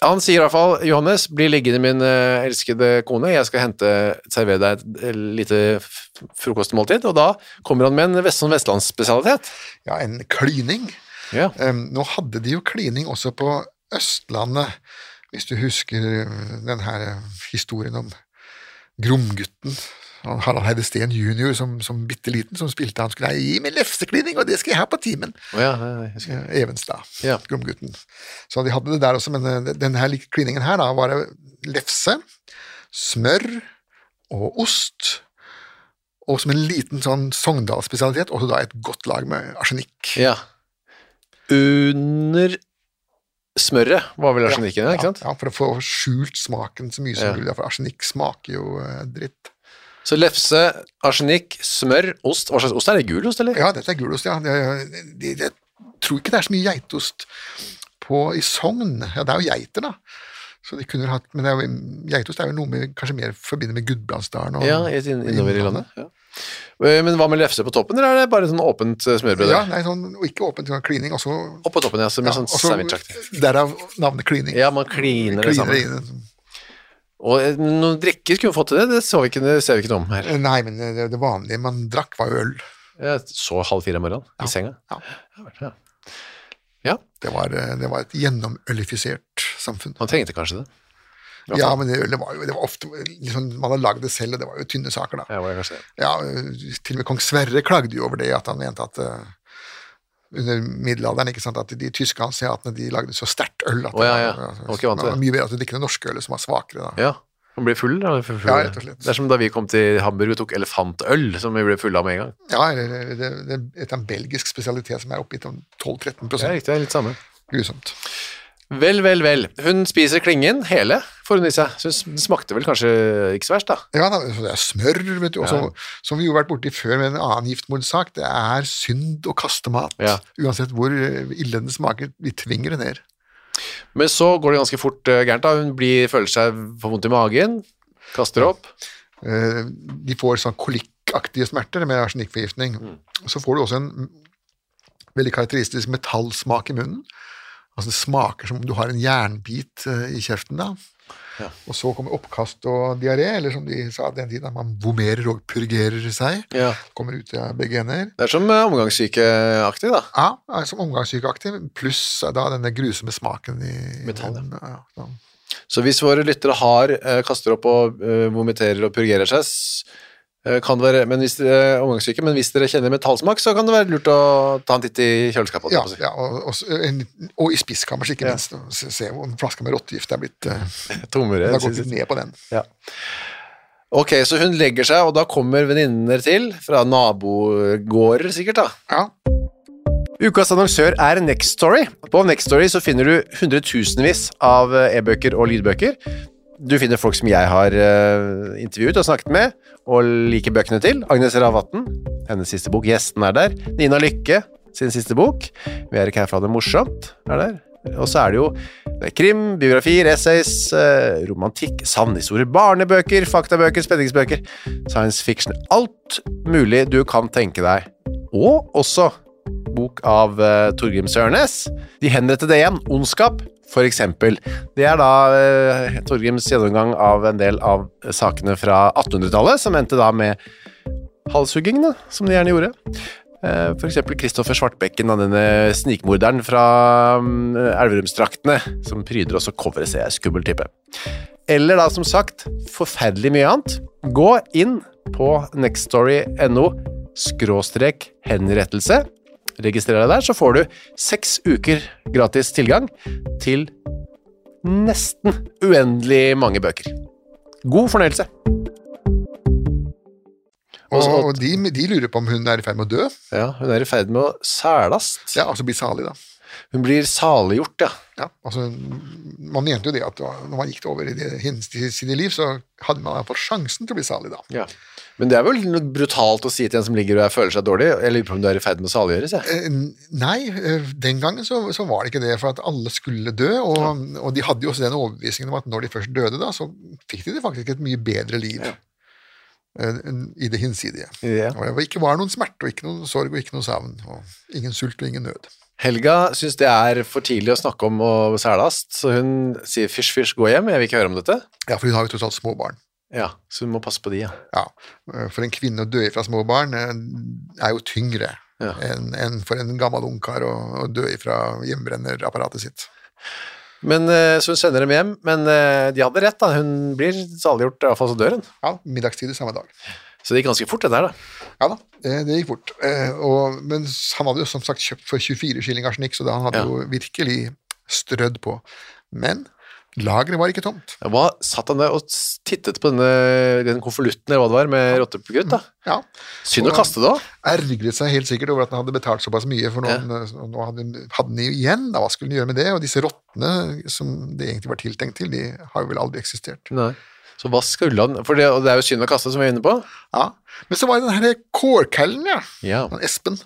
Speaker 2: Han sier i hvert fall, Johannes, bli liggende min eh, elskede kone, jeg skal hente, servere deg et eh, lite f- frokostmåltid, og da kommer han med en vest, sånn vestlandsspesialitet.
Speaker 3: Ja, en klining.
Speaker 2: Ja.
Speaker 3: Em, nå hadde de jo klining også på Østlandet, hvis du husker eh, den her eh, historien om Gromgutten. Han- Harald Heide Steen jr. som, som bitte liten, som spilte han skulle gi meg lefseklining, og det skal jeg ha på timen.
Speaker 2: Å ja, ja, jeg husker.
Speaker 3: Eh, Evenstad,
Speaker 2: Ja.
Speaker 3: Gromgutten. Så de hadde det der også, men eh, den her lik- kliningen her, da, var det lefse, smør og ost, og som en liten sånn Sogndal-spesialitet, også da et godt lag med arsenikk.
Speaker 2: ja. Under smøret var vel arsenikken, ja, ikke sant?
Speaker 3: Ja, ja, for å få skjult smaken så mye som
Speaker 2: Ja.
Speaker 3: mulig. For arsenikk smaker jo eh, dritt.
Speaker 2: Så lefse, arsenikk, smør, ost. Hva slags ost er det? Gul ost, eller?
Speaker 3: Ja, dette er gulost, ja. Jeg, jeg, jeg tror ikke det er så mye geitost på, i Sogn. Ja, det er jo geiter, da. Så de kunne jo hatt, men det er jo, geitost er jo noe vi kanskje mer forbinder med Gudbrandsdalen. og-
Speaker 2: Ja, i- inn- innover i landet.
Speaker 3: Innlandet.
Speaker 2: Ja. Eh, Men hva med lefse på toppen, eller er det bare sånn åpent eh, smørbrød?
Speaker 3: Ja,
Speaker 2: der?
Speaker 3: nei, sånn, og ikke åpent, sånn klining. Også,
Speaker 2: Opp på toppen, ja, som
Speaker 3: ja,
Speaker 2: en sånn sandwichaktig.
Speaker 3: også, derav navnet klining.
Speaker 2: Ja, man kliner det
Speaker 3: Kliner
Speaker 2: sammen.
Speaker 3: inn.
Speaker 2: Og eh, noen drikker skulle vi fått til det, det, så vi ikke, det ser vi ikke noe om her.
Speaker 3: Nei, men det, det vanlige man drakk, var øl.
Speaker 2: Jeg så halv fire om morgenen i senga.
Speaker 3: Ja.
Speaker 2: Ja, vel, ja. Ja,
Speaker 3: Det var, eh, det var et gjennomølifisert samfunn.
Speaker 2: han trengte kanskje det. I hvert
Speaker 3: Ja,
Speaker 2: fall.
Speaker 3: men det ølet var jo det var ofte liksom, Man hadde lagd det selv, og det var jo tynne saker, da.
Speaker 2: Ja, var det kanskje det.
Speaker 3: Ja, øh, til og med kong Sverre klagde jo over det, at han mente at øh, under middelalderen ikke sant, at de tyske hanseatene de lagde så sterkt øl at
Speaker 2: Å, ja, ja.
Speaker 3: det var, altså,
Speaker 2: Han var ikke vant til det.
Speaker 3: det var mye bedre at du drikker det norske ølet, som var svakere. da.
Speaker 2: Ja, han ble full, da. Full,
Speaker 3: Ja, rett og slett.
Speaker 2: Det er som da vi kom til Hamburg og tok elefantøl, som vi ble fulle av med en gang.
Speaker 3: Ja, eller det, det, det er et- en belgisk spesialitet som er oppgitt om 12-13
Speaker 2: Det er
Speaker 3: prosent.
Speaker 2: riktig, det er litt samme.
Speaker 3: Grusomt.
Speaker 2: Vel, vel, vel. Hun spiser klingen hele, får hun i seg. Synes det smakte vel kanskje ikke så verst, da.
Speaker 3: Ja, da, så det er smør, vet du. Og så-
Speaker 2: Ja.
Speaker 3: Som vi jo har vært borti før med en annen giftmordsak, det er synd å kaste mat.
Speaker 2: Ja.
Speaker 3: Uansett hvor øh, ille den smaker, vi tvinger det ned.
Speaker 2: Men så går det ganske fort eh, gærent. da. Hun blir, føler seg for vondt i magen, kaster opp.
Speaker 3: Eh, de får sånn kolikkaktige smerter med arsenikkforgiftning.
Speaker 2: Mm.
Speaker 3: Så får du også en veldig karakteristisk metallsmak i munnen. Altså Det smaker som om du har en jernbit eh, i kjeften. da. Og så kommer oppkast og diaré, eller som de sa den tiden, at man vomerer og purgerer seg.
Speaker 2: Ja.
Speaker 3: Kommer ut av begge ender.
Speaker 2: Det er som eh, omgangssykeaktig, da.
Speaker 3: Ja, er som omgangssykeaktiv, pluss da denne grusomme smaken i
Speaker 2: Metall, ja.
Speaker 3: munnen. Ja, sånn. ja.
Speaker 2: Så hvis våre lyttere har, eh, kaster opp og eh, vomiterer og purgerer seg, s- eh, kan det være, men hvis dere er omgangssyke, men hvis dere kjenner metallsmak, så kan det være lurt å ta en titt i kjøleskapet. holdt jeg
Speaker 3: Ja,
Speaker 2: på å si.
Speaker 3: ja og, og, en, og i spiskammers, ikke minst. og Se, se om flaska med rottegift er blitt eh,
Speaker 2: Tommere,
Speaker 3: Det har gått
Speaker 2: synes jeg.
Speaker 3: litt ned på den.
Speaker 2: Ok, så hun legger seg, og da kommer venninner til, fra nabogårder sikkert da.
Speaker 3: Ja.
Speaker 2: Ukas annonsør er Next Story. På Next Story så finner du hundretusenvis av eh, e-bøker og lydbøker. Du finner folk som jeg har eh, intervjuet og snakket med, og liker bøkene til. Agnes Ravatn, hennes siste bok. Gjesten er der. Nina Lykke, sin siste bok. Vi er ikke her for å ha det morsomt, er der. Og så er det jo det er krim, biografier, essays, eh, romantikk, sannhistorier, barnebøker, faktabøker, spenningsbøker, science fiction. Alt mulig du kan tenke deg. Og også bok av eh, Torgrim Sørnes. De henrettede igjen, ondskap, for eksempel. Det er da eh, Torgrims gjennomgang av en del av sakene fra 1800-tallet, som endte da med halshuggingene, som de gjerne gjorde. Eh, For eksempel Kristoffer Svartbekken, da, denne snikmorderen fra mm, Elverumsdraktene, som pryder også coveret, ser jeg, skummel type. Eller da, som sagt, forferdelig mye annet. Gå inn på nextstory.no skråstrek henrettelse. Registrer deg der, så får du seks uker gratis tilgang til nesten uendelig mange bøker. God fornøyelse.
Speaker 3: Og,
Speaker 2: Og-
Speaker 3: og de, de lurer på om hun er i ferd med å dø.
Speaker 2: Ja, hun er i ferd med å sælast.
Speaker 3: Ja, altså bli salig, da.
Speaker 2: Hun blir saliggjort, ja.
Speaker 3: Ja, altså, man mente jo det at når man gikk det over i det hinsides sine liv, så hadde man fått sjansen til å bli salig da.
Speaker 2: Men det er vel noe brutalt å si til en som ligger og er- føler seg dårlig, jeg lurer på om du er i ferd med å saliggjøres, jeg.
Speaker 3: Eh, Nei, eh, den gangen så, så var det ikke det, for at alle skulle dø, og, og de hadde jo også den overbevisningen om at når de først døde, da, så fikk de det faktisk et mye bedre liv eh, enn i det hinsidige.
Speaker 2: Ja.
Speaker 3: Og det ikke var noen smerte, og ikke noen sorg, og ikke noen savn, og ingen sult og ingen nød.
Speaker 2: Helga syns det er for tidlig å snakke om og særlast, så hun sier fysj, fysj, gå hjem, jeg vil ikke høre om dette.
Speaker 3: Ja, for hun har jo tross alt små barn.
Speaker 2: Ja, så hun må passe på de, ja.
Speaker 3: Ja, eh, for en kvinne å dø ifra små barn eh, er jo tyngre
Speaker 2: Ja.
Speaker 3: enn enn for en gammel ungkar å, å dø ifra hjemmebrenner-apparatet sitt.
Speaker 2: Men, eh, så hun sender dem hjem, men eh, de hadde rett, da. Hun blir saliggjort, iallfall så dør hun.
Speaker 3: Ja, middagstid i samme dag.
Speaker 2: Så det gikk ganske fort, det der, da.
Speaker 3: Ja da, eh, det gikk fort. Eh, Og, men han hadde jo som sagt kjøpt for 24 skilling arsenikk, så da han hadde
Speaker 2: Ja.
Speaker 3: jo virkelig strødd på. Men lageret var ikke tomt.
Speaker 2: Hva satt han der og s- tittet på denne, den konvolutten eller hva det var, med rottegutt, da?
Speaker 3: Ja,
Speaker 2: Synd å kaste det òg.
Speaker 3: Ergret seg helt sikkert over at han hadde betalt såpass mye for noen, og nå hadde, hadde han jo igjen. Da, hva skulle han gjøre med det? Og disse rottene som det egentlig var tiltenkt til, de har jo vel aldri eksistert.
Speaker 2: Så hva skulle han For det, og det er jo synd å kaste, som vi er inne på.
Speaker 3: Ja, Men så var det den her kårkallen, ja.
Speaker 2: Ja.
Speaker 3: Han Espen.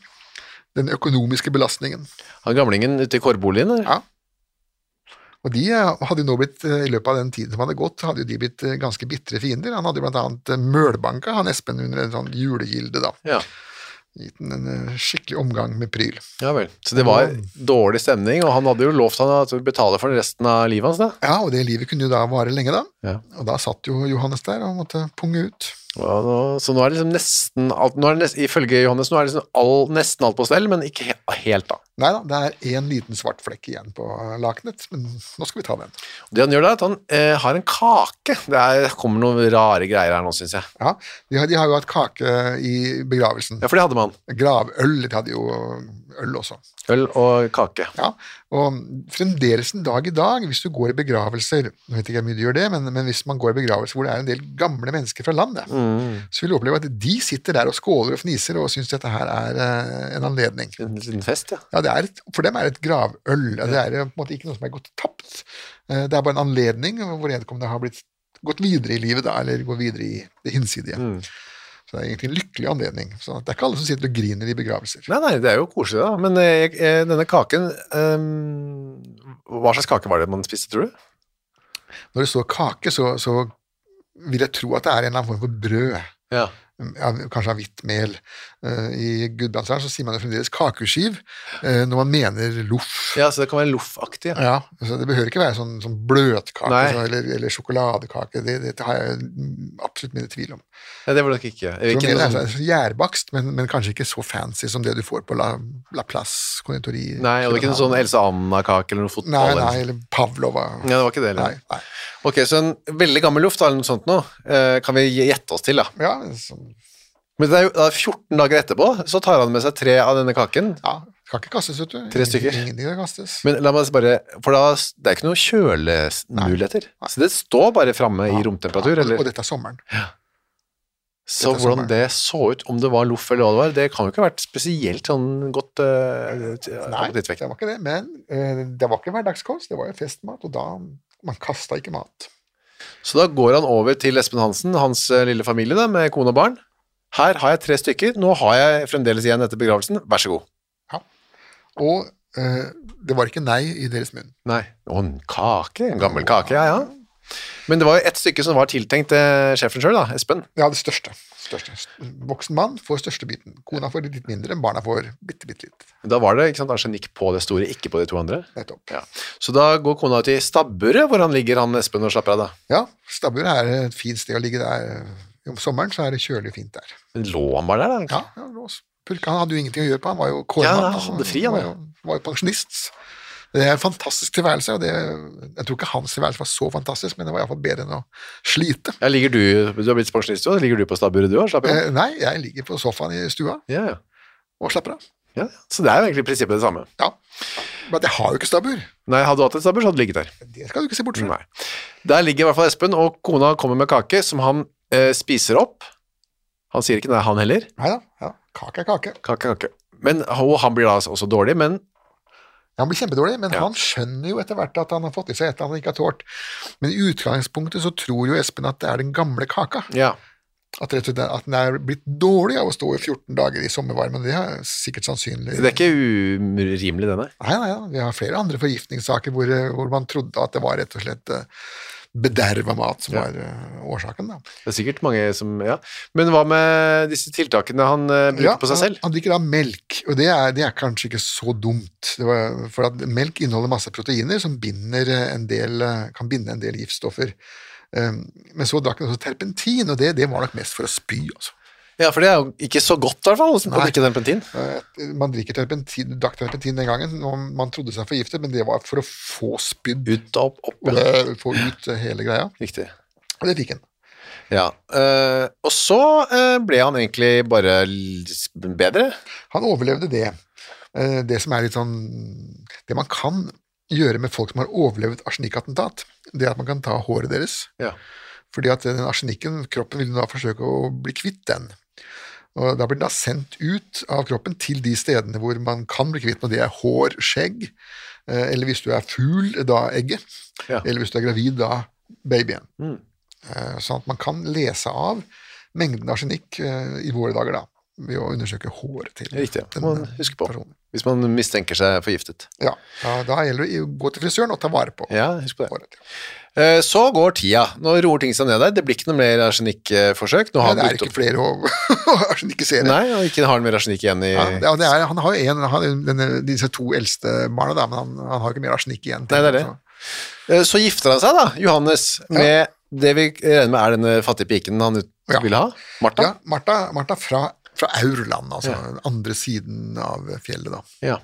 Speaker 3: Den økonomiske belastningen.
Speaker 2: Han gamlingen ute i kårboligen, eller?
Speaker 3: Ja. Og de eh, hadde jo nå blitt, eh, i løpet av den tiden som hadde gått, hadde jo de blitt eh, ganske bitre fiender. Han hadde jo blant annet eh, mølbanka han Espen under en sånn julegilde, da.
Speaker 2: Ja.
Speaker 3: Gitt den en eh, skikkelig omgang med pryl.
Speaker 2: Ja vel. Så det var dårlig stemning, og han hadde jo lovt han at han betaler for resten av livet hans, da.
Speaker 3: Ja, og det livet kunne jo da vare lenge, da.
Speaker 2: Ja.
Speaker 3: Og da satt jo Johannes der og måtte punge ut.
Speaker 2: Ja, nå, så nå er det liksom nesten alt nå er det nesten, Ifølge Johannes nå er det liksom all, nesten alt på stell, men ikke he helt, da.
Speaker 3: Nei da, det er én liten svart flekk igjen på eh, lakenet, men nå skal vi ta den.
Speaker 2: Det han gjør da, er at han eh, har en kake. Det er, kommer noen rare greier her nå, syns jeg.
Speaker 3: Ja, de har, de har jo hatt kake i begravelsen.
Speaker 2: Ja, for det hadde man.
Speaker 3: Gravøl, de hadde jo øl også.
Speaker 2: Øl og kake.
Speaker 3: Ja, og fremdeles en dag i dag, hvis du går i begravelser Nå vet ikke jeg mye du gjør det, men, men hvis man går i begravelser hvor det er en del gamle mennesker fra landet, så vil du oppleve at de sitter der og skåler og fniser og syns dette her er eh, en anledning.
Speaker 2: En liten fest, ja.
Speaker 3: Ja, det er et, For dem er det et gravøl. Ja. Det er eh, på en måte ikke noe som er gått tapt. Eh, Det er bare en anledning hvor vedkommende har blitt gått videre i livet, da, eller går videre i det hinsidige. Så det er egentlig en lykkelig anledning. Så det er ikke alle som sitter og griner i begravelser.
Speaker 2: Nei, nei, det er jo koselig, da. Men eh, jeg- eh, denne kaken ehm, Hva slags kake var det man spiste, tror du?
Speaker 3: Når det står kake, så, så vil jeg tro at det er en eller annen form for brød.
Speaker 2: Ja.
Speaker 3: Ja, kanskje av hvitt mel. Eh, I Gudbrandsdalen så sier man jo fremdeles kakeskiv eh, når man mener loff.
Speaker 2: ja, så det kan være loffaktig. Ja.
Speaker 3: Ja, så Det behøver ikke være sånn, sånn bløtkake
Speaker 2: Nei.
Speaker 3: så, eller, eller sjokoladekake, det, det har jeg absolutt mine tvil om.
Speaker 2: Ja, det var det nok ikke.
Speaker 3: Så
Speaker 2: ikke
Speaker 3: mer
Speaker 2: noe
Speaker 3: er
Speaker 2: sånn-
Speaker 3: sånn Gjærbakst, men, men kanskje ikke så fancy som det du får på La, La Place konditori.
Speaker 2: Nei, og det var ikke noe sånn Else Anna-kake eller noe fotball?
Speaker 3: Nei,
Speaker 2: eller noe
Speaker 3: nei,
Speaker 2: sånt.
Speaker 3: eller Pavlova.
Speaker 2: Ja, det var ikke det.
Speaker 3: Nei,
Speaker 2: Eller?
Speaker 3: nei.
Speaker 2: Ok, så en veldig gammel luft da, eller noe sånt nå, eh, kan vi gjette oss til, da.
Speaker 3: Ja, sånn,
Speaker 2: Men det er jo da 14 dager etterpå, så tar han med seg tre av denne kaken.
Speaker 3: ja, skal ikke kastes, vet du.
Speaker 2: Tre stykker.
Speaker 3: Ingenting skal kastes.
Speaker 2: Men la meg bare, for da, det er ikke noen kjølemuligheter. Så det står bare framme i romtemperatur,
Speaker 3: Og
Speaker 2: eller?
Speaker 3: dette er sommeren.
Speaker 2: Så
Speaker 3: dette er
Speaker 2: hvordan
Speaker 3: sommeren.
Speaker 2: det så ut, om det var loff eller hva det var, det kan jo ikke ha vært spesielt sånn godt uh,
Speaker 3: Nei, det
Speaker 2: appetittvekt.
Speaker 3: var ikke det, men eh, det var ikke hverdagskost, det var jo festmat, og da man kasta ikke mat.
Speaker 2: Så da går han over til Espen Hansen, hans eh, lille familie da, med kone og barn. Her har jeg tre stykker, nå har jeg fremdeles igjen etter begravelsen, vær så god.
Speaker 3: Og eh, det var ikke nei i deres munn.
Speaker 2: Nei, og en kake, en gammel kake, ja, ja. Men det var jo et stykke som var tiltenkt eh, sjefen selv da, Espen.
Speaker 3: Ja, det største. største. Voksen mann får største biten. Kona får litt mindre, barna får bitte, bitte litt.
Speaker 2: Da var det, ikke sant, arsenikk på det store, ikke på de to andre.
Speaker 3: Nettopp.
Speaker 2: Ja. Så da går kona ut i stabburet, hvor han ligger, han Espen, og slapper av da.
Speaker 3: Ja, Stabburet er et fint sted å ligge der. Eh, Om sommeren så er det kjølig og fint der.
Speaker 2: Men lå han bare der da?
Speaker 3: Ja, ja Lås. Purke han hadde jo ingenting å gjøre på, han var jo
Speaker 2: Ja,
Speaker 3: kårmann.
Speaker 2: han
Speaker 3: altså.
Speaker 2: hadde fri, han,
Speaker 3: var,
Speaker 2: ja.
Speaker 3: jo- var jo pensjonist. Det er en fantastisk tilværelse, og det, jeg tror ikke hans tilværelse var så fantastisk, men det var iallfall bedre enn å slite.
Speaker 2: Ja, ligger du, du har blitt pensjonist jo, ligger du på stabburet du og slapper av?
Speaker 3: Eh, nei, jeg ligger på sofaen i stua
Speaker 2: Ja, ja.
Speaker 3: og slapper av.
Speaker 2: ja. Så det er jo egentlig i prinsippet det samme.
Speaker 3: Ja. Men jeg har jo ikke stabbur.
Speaker 2: Nei, hadde du hatt et stabbur, så hadde du ligget der.
Speaker 3: Det skal du ikke se bort fra.
Speaker 2: Nei. Der ligger i hvert fall Espen, og kona kommer med kake, som han eh, spiser opp. Han sier ikke nei, han heller.
Speaker 3: Neida, Ja. Kake er kake.
Speaker 2: Kake, kake. Men, og han blir da også dårlig, men
Speaker 3: Han blir kjempedårlig, men han skjønner jo etter hvert at han har fått i seg et eller annet han ikke har tålt. Men i utgangspunktet så tror jo Espen at det er den gamle kaka.
Speaker 2: Ja.
Speaker 3: At, rett og slett, at den er blitt dårlig av å stå i 14 dager i sommervarmen. Det er sikkert sannsynlig.
Speaker 2: Det er ikke urimelig, denne.
Speaker 3: Nei, nei, nei. Vi har flere andre forgiftningssaker hvor, eh, hvor man trodde at det var rett og slett eh, bederva mat som
Speaker 2: Ja.
Speaker 3: var eh, årsaken. Da.
Speaker 2: Det er sikkert mange som Ja. Men hva med disse tiltakene han eh, bruker på seg
Speaker 3: han,
Speaker 2: selv?
Speaker 3: han drikker da melk, og det er, det er kanskje ikke så dumt. Det var, for at melk inneholder masse proteiner som binder eh, en del, eh, kan binde en del giftstoffer. Um, men så drakk han også terpentin, og det, det var nok mest for å spy. Altså.
Speaker 2: Ja, for det er jo ikke så godt, i hvert fall, å
Speaker 3: Nei.
Speaker 2: drikke terpentin.
Speaker 3: Eh, Man drikker terpentin, drakk terpentin den gangen, og man trodde seg forgiftet, men det var for å få spydd,
Speaker 2: Ut, opp, opp.
Speaker 3: og,
Speaker 2: Ja.
Speaker 3: eh, få ut eh, hele greia,
Speaker 2: Riktig.
Speaker 3: og det fikk han.
Speaker 2: Ja. eh, og så eh, ble han egentlig bare l- bedre.
Speaker 3: Han overlevde det. Eh, Det som er litt sånn Det man kan gjøre med folk som har overlevd arsenikattentat, det er at man kan ta håret deres.
Speaker 2: Ja.
Speaker 3: Fordi at den arsenikken, kroppen vil da forsøke å bli kvitt den. Og da blir den da sendt ut av kroppen til de stedene hvor man kan bli kvitt den, og det er hår, skjegg, eh, eller hvis du er fugl, da egget,
Speaker 2: Ja. Mm.
Speaker 3: eller hvis du er gravid, da babyen. Eh, Sånn at man kan lese av mengden arsenikk eh, i våre dager, da, ved å undersøke håret til
Speaker 2: Riktig. Det
Speaker 3: den,
Speaker 2: må man
Speaker 3: eh,
Speaker 2: huske på.
Speaker 3: personen.
Speaker 2: Hvis man mistenker seg forgiftet.
Speaker 3: Ja, da, da gjelder det å gå til frisøren og ta vare på
Speaker 2: Ja, husk på det.
Speaker 3: håret.
Speaker 2: Eh, så går tida. Nå roer ting seg ned der. Det blir ikke noe mer arsenikkforsøk. Nå
Speaker 3: Ja,
Speaker 2: har
Speaker 3: det
Speaker 2: han
Speaker 3: er
Speaker 2: brukt
Speaker 3: ikke
Speaker 2: opp
Speaker 3: flere å arsenikksere.
Speaker 2: Nei, og ikke har han mer arsenikk igjen i
Speaker 3: Ja, det- ja, det er, han har jo en, han, denne, disse to eldste barna, da, men han, han har jo ikke mer arsenikk igjen.
Speaker 2: Nei, det er det.
Speaker 3: Så-
Speaker 2: Eh, Så gifter han seg da, Johannes, med det vi regner med er denne fattige piken han ut-
Speaker 3: Ja.
Speaker 2: ville ha, Martha.
Speaker 3: Ja, Martha, Martha fra, fra Aurland, altså den andre siden av fjellet. da.
Speaker 2: Ja.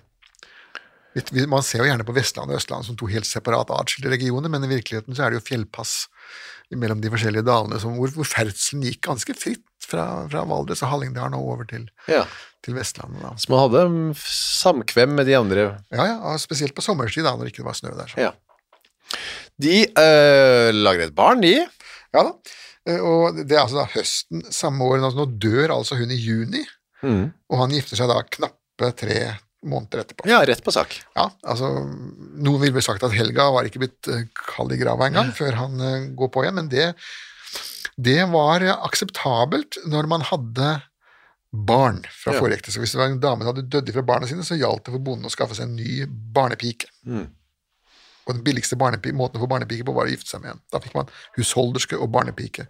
Speaker 3: Vi- vi- Man ser jo gjerne på Vestland og Østland som to helt separat atskilte regioner, men i virkeligheten så er det jo fjellpass mellom de forskjellige dalene som, hvor, hvor ferdselen gikk ganske fritt fra, fra Valdres og Hallingdalen og over til,
Speaker 2: Ja.
Speaker 3: til Vestlandet. da.
Speaker 2: Som han hadde mm, samkvem med de andre.
Speaker 3: Ja, ja, og Spesielt på sommerstid, da, når det ikke var snø der. Så.
Speaker 2: Ja. De eh, lager et barn, de.
Speaker 3: Ja da. Eh, Og det er altså da høsten samme år. Altså nå dør altså hun i juni, og han gifter seg da knappe tre måneder etterpå.
Speaker 2: Ja, rett på sak.
Speaker 3: Ja, altså Noen ville vel sagt at Helga var ikke blitt eh, kald i grava engang før han eh, går på igjen, men det, det var eh, akseptabelt når man hadde barn fra
Speaker 2: Ja.
Speaker 3: forrige ekteskap. Hvis det var en dame som hadde dødd fra barna sine, så gjaldt det for bonden å skaffe seg en ny barnepike. Og den billigste barnepi- måten å få barnepike på, var å gifte seg med en. Da fikk man husholderske og barnepike